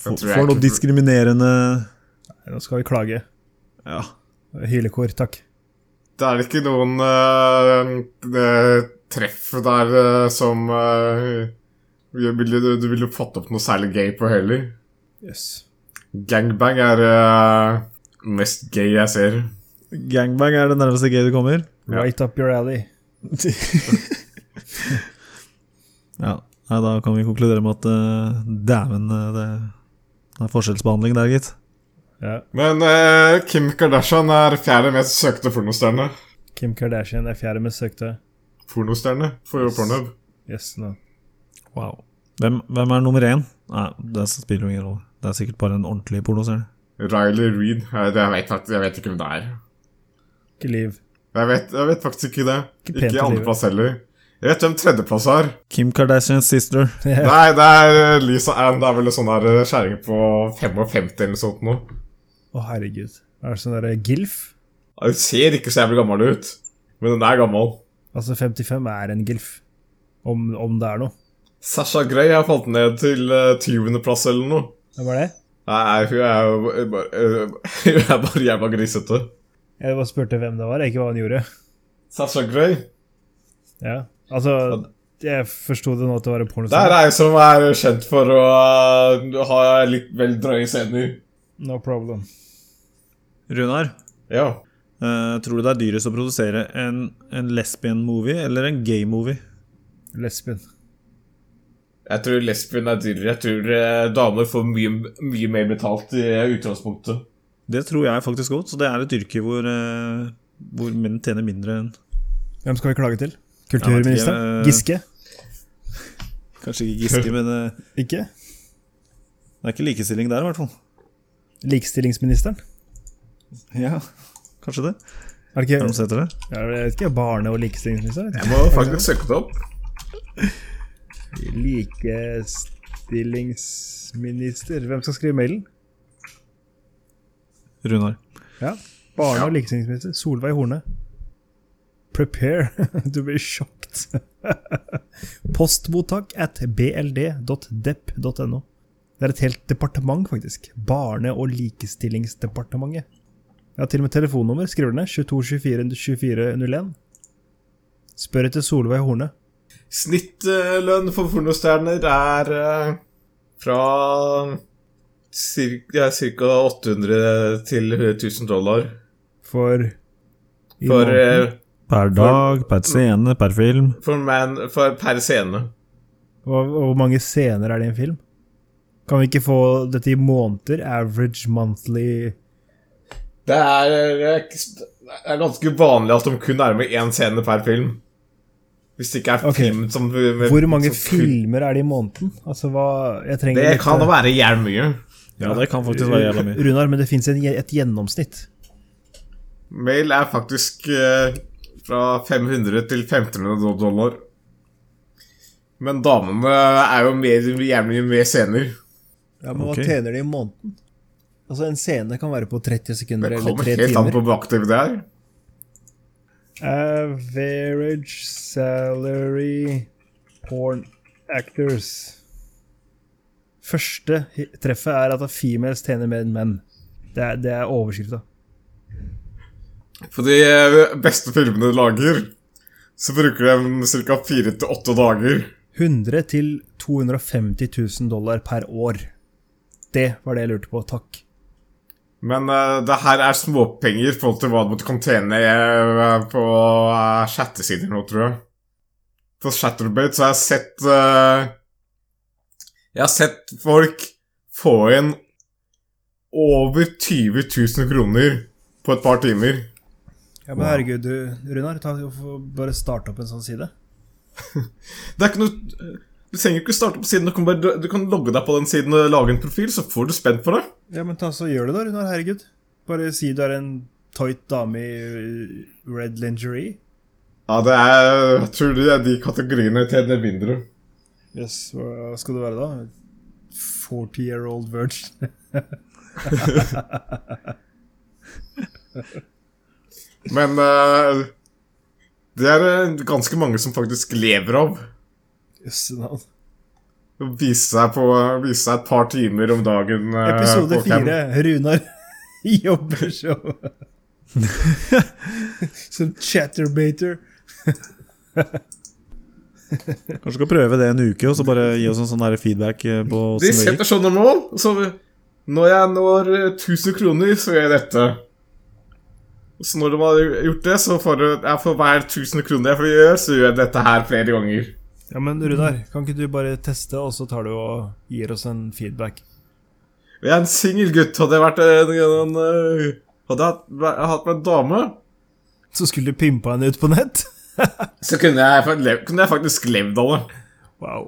Speaker 3: For,
Speaker 2: Jeg tror jeg
Speaker 3: for noe
Speaker 2: ikke-
Speaker 3: diskriminerende
Speaker 1: Nei, Nå skal vi klage.
Speaker 3: Ja.
Speaker 1: Hylekor, takk.
Speaker 2: Det er ikke noen eh, eh, treff der eh, som eh, vi ville, du, du ville fått opp noe særlig gay på heller.
Speaker 1: Jøss.
Speaker 2: Gangbang er eh, mest gay jeg ser.
Speaker 3: Gangbang er det nærmeste G du kommer.
Speaker 1: Right up your alley.
Speaker 3: det Ja, nei, da kan vi konkludere med at eh, dæven, eh, det, det er forskjellsbehandling der, gitt.
Speaker 1: Ja.
Speaker 2: Men eh, Kim Kardashian er fjerde mest søkte pornostjerne.
Speaker 1: Kim Kardashian er fjerde mest søkte.
Speaker 2: Pornostjerne for Pornhub.
Speaker 1: Yes, nå.
Speaker 3: Wow. Hvem, hvem er nummer én? Nei, det spiller jo ingen rolle. Det er sikkert bare en ordentlig pornoserie.
Speaker 2: Riley Reed. Eh, det- Jeg vet, fakt- jeg vet ikke hvem det er.
Speaker 1: Ikke liv.
Speaker 2: Jeg vet, jeg vet faktisk ikke det.
Speaker 1: Ikke pent
Speaker 2: Ikke
Speaker 1: i
Speaker 2: andreplass heller. Jeg vet hvem tredjeplass er.
Speaker 3: Kim Kardashians sister.
Speaker 2: *laughs* Nei, det er eh, Lisa Ann. Det er vel en sånn her eh, skjæring på 55 eller noe sånt nå.
Speaker 1: Å, herregud. Er det sånn derre gilf?
Speaker 2: Ja, Hun ser ikke så jævlig gammel ut, men hun er gammel.
Speaker 1: Altså, 55 er en gilf. Om, om det er noe.
Speaker 2: Sasha Grey har falt ned til eh, 20. plass eller noe.
Speaker 1: Hvem er det?
Speaker 2: Nei, hun er jo bare, eh, *laughs* hun er bare jævla grisete.
Speaker 1: Jeg bare spurte hvem det var, ikke hva han gjorde.
Speaker 2: Sasha Grey.
Speaker 1: Ja. Altså, jeg forsto det nå at det var en
Speaker 2: Det er
Speaker 1: pornosang.
Speaker 2: ei som er kjent for å eh, ha litt vel drøye scener.
Speaker 1: No problem.
Speaker 3: Runar,
Speaker 2: Ja.
Speaker 3: eh, tror du det er dyrest å produsere en, en lesbian-movie eller en gay-movie?
Speaker 1: Lesbien.
Speaker 2: Jeg tror lesbien er dyrere. Jeg tror eh, damer får mye, mye mer betalt i utgangspunktet.
Speaker 3: Det tror jeg faktisk godt, så det er et yrke hvor, eh, hvor menn tjener mindre enn
Speaker 1: Hvem skal vi klage til?
Speaker 3: Jeg
Speaker 1: Kulturministeren?
Speaker 3: vet
Speaker 1: Giske?
Speaker 3: Kanskje ikke *laughs* Giske, men eh,
Speaker 1: Ikke?
Speaker 3: det er ikke likestilling der, i hvert fall.
Speaker 1: Likestillingsministeren?
Speaker 3: Ja, kanskje det.
Speaker 1: Er det
Speaker 3: Er det
Speaker 1: ikke,
Speaker 3: noe som heter det?
Speaker 1: jeg vet ikke, barne- og likestillingsministeren? vet
Speaker 2: Jeg må faktisk søke det opp.
Speaker 1: ikke. Likestillingsminister Hvem skal skrive mailen?
Speaker 3: Runar.
Speaker 1: Ja. Barne- og likestillingsminister Solveig Horne. Prepare *laughs* to be shocked. *laughs* Postmottak at bld.depp.no. Det er et helt departement, faktisk. Barne- og likestillingsdepartementet. Jeg har til og med telefonnummer. Skriver du ned? 22242401. Spør etter Solveig Horne.
Speaker 2: Snittlønn for pornostjerner er eh, fra ca. 800 til 1000 dollar.
Speaker 1: For i
Speaker 2: For,
Speaker 1: måneden.
Speaker 2: eh,
Speaker 3: Per dag, per scene, per film.
Speaker 2: for, man, for per scene.
Speaker 1: Hva, og hvor mange scener er det i en film? Kan vi ikke få dette i måneder? Average monthly
Speaker 2: Det er, eh, ikke s- det er ganske vanlig at de kun er med én scene per film. Hvis det ikke er
Speaker 1: Ok.
Speaker 2: film som med,
Speaker 1: Hvor mange
Speaker 2: som-
Speaker 1: filmer er det i måneden? Altså, hva Jeg trenger
Speaker 2: Det
Speaker 1: litt,
Speaker 2: kan da
Speaker 1: eh,
Speaker 2: være jævlig mye.
Speaker 3: Ja, det kan faktisk være jævla mye.
Speaker 1: Runar, men det fins et gjennomsnitt.
Speaker 2: Mail er faktisk eh, fra 500 til 1500 do- dollar. Men damene er jo mer, jævlig mye mer scener.
Speaker 1: Ja,
Speaker 3: men hva Ok.
Speaker 1: tjener de i måneden? Altså, en scene kan være på 30 sekunder
Speaker 2: Det kommer helt an på hvor aktive de er.
Speaker 1: Average salary porn actors. Første hi- treffet er at females tjener mer enn menn. Det er, det er overskrifta.
Speaker 2: På de eh, beste filmene de lager, så bruker de ca. fire til åtte dager.
Speaker 1: 100 til 250 000 dollar per år. Det var det jeg lurte på. Takk.
Speaker 2: Men eh, det her er småpenger i forhold til hva du kan tjene eh, på eh, chattesider nå, tror jeg. På Chatterbate så har jeg sett eh, Jeg har sett folk få inn over 20 000 kroner på et par timer.
Speaker 1: Ja, men herregud, du, Runar, ta, få bare starte opp en sånn side.
Speaker 2: Det er ikke noe Du trenger ikke starte på siden, du kan, bare, du kan logge deg på den siden og lage en profil, så får du spent for det.
Speaker 1: Ja, men ta så gjør det da, Runar, herregud. Bare si du er en tøyt dame i øh, red lingerie.
Speaker 2: Ja, det er Jeg tror det er de kategoriene tjener mindre.
Speaker 1: Yes, hva skal du være da? 40-year-old virgin. *laughs*
Speaker 2: Men eh, det er det ganske mange som faktisk lever av.
Speaker 1: Yes, no.
Speaker 2: Å Vise seg, på, vise seg et par timer om dagen. eh,
Speaker 1: Episode
Speaker 2: på cam.
Speaker 1: 4, Runar *laughs* jobber som Som chatterbaiter.
Speaker 3: Kanskje vi skal prøve det en uke, og så bare gi oss en sånn her feedback eh, *laughs* på
Speaker 2: De
Speaker 3: åssen det gikk.
Speaker 2: setter sånne mål. Så når jeg når eh, 1000 kroner, så gjør jeg dette. Så når de har gjort det, så får du ja, For hver 1000 kroner jeg får gjøre, så gjør jeg dette her flere ganger.
Speaker 1: Ja, men Runar, kan ikke du bare teste, og så tar du og gir oss en feedback?
Speaker 2: Jeg er en singel gutt. Hadde jeg vært en, en, en Hadde jeg hatt, jeg hatt meg en dame,
Speaker 1: Så skulle du pimpa henne ut på nett?
Speaker 2: så kunne jeg, fa- lev- kunne jeg faktisk levd av det.
Speaker 1: Wow.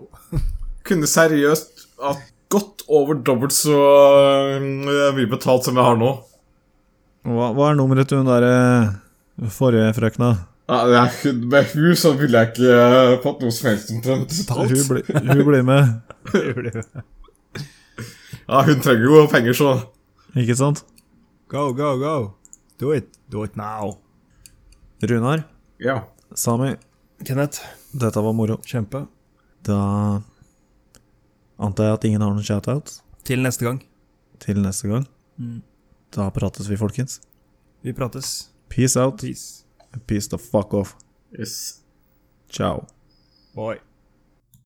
Speaker 2: Kunne seriøst hatt godt over dobbelt så øh, mye betalt som jeg har nå.
Speaker 3: Hva, hva er nummeret til hun derre forrige frøkna?
Speaker 2: Ja, jeg, kunne- med hun så ville jeg ikke øh, fått noe som helst omtrent.
Speaker 3: Hun, bli, hun blir med,
Speaker 2: Ja, hun trenger jo penger, så
Speaker 3: ikke sant?
Speaker 1: Go, go, go. Do it. Do it now.
Speaker 3: Runar,
Speaker 2: Ja.
Speaker 3: Sami,
Speaker 1: Kenneth,
Speaker 3: dette var moro.
Speaker 1: kjempe.
Speaker 3: Da antar jeg at ingen har noen shoutout
Speaker 1: Til neste gang.
Speaker 3: til neste gang. Da prates vi, folkens.
Speaker 1: Vi prates.
Speaker 3: Peace out.
Speaker 1: Peace.
Speaker 3: Peace the fuck off.
Speaker 2: Yes.
Speaker 3: Ciao.
Speaker 1: Bye.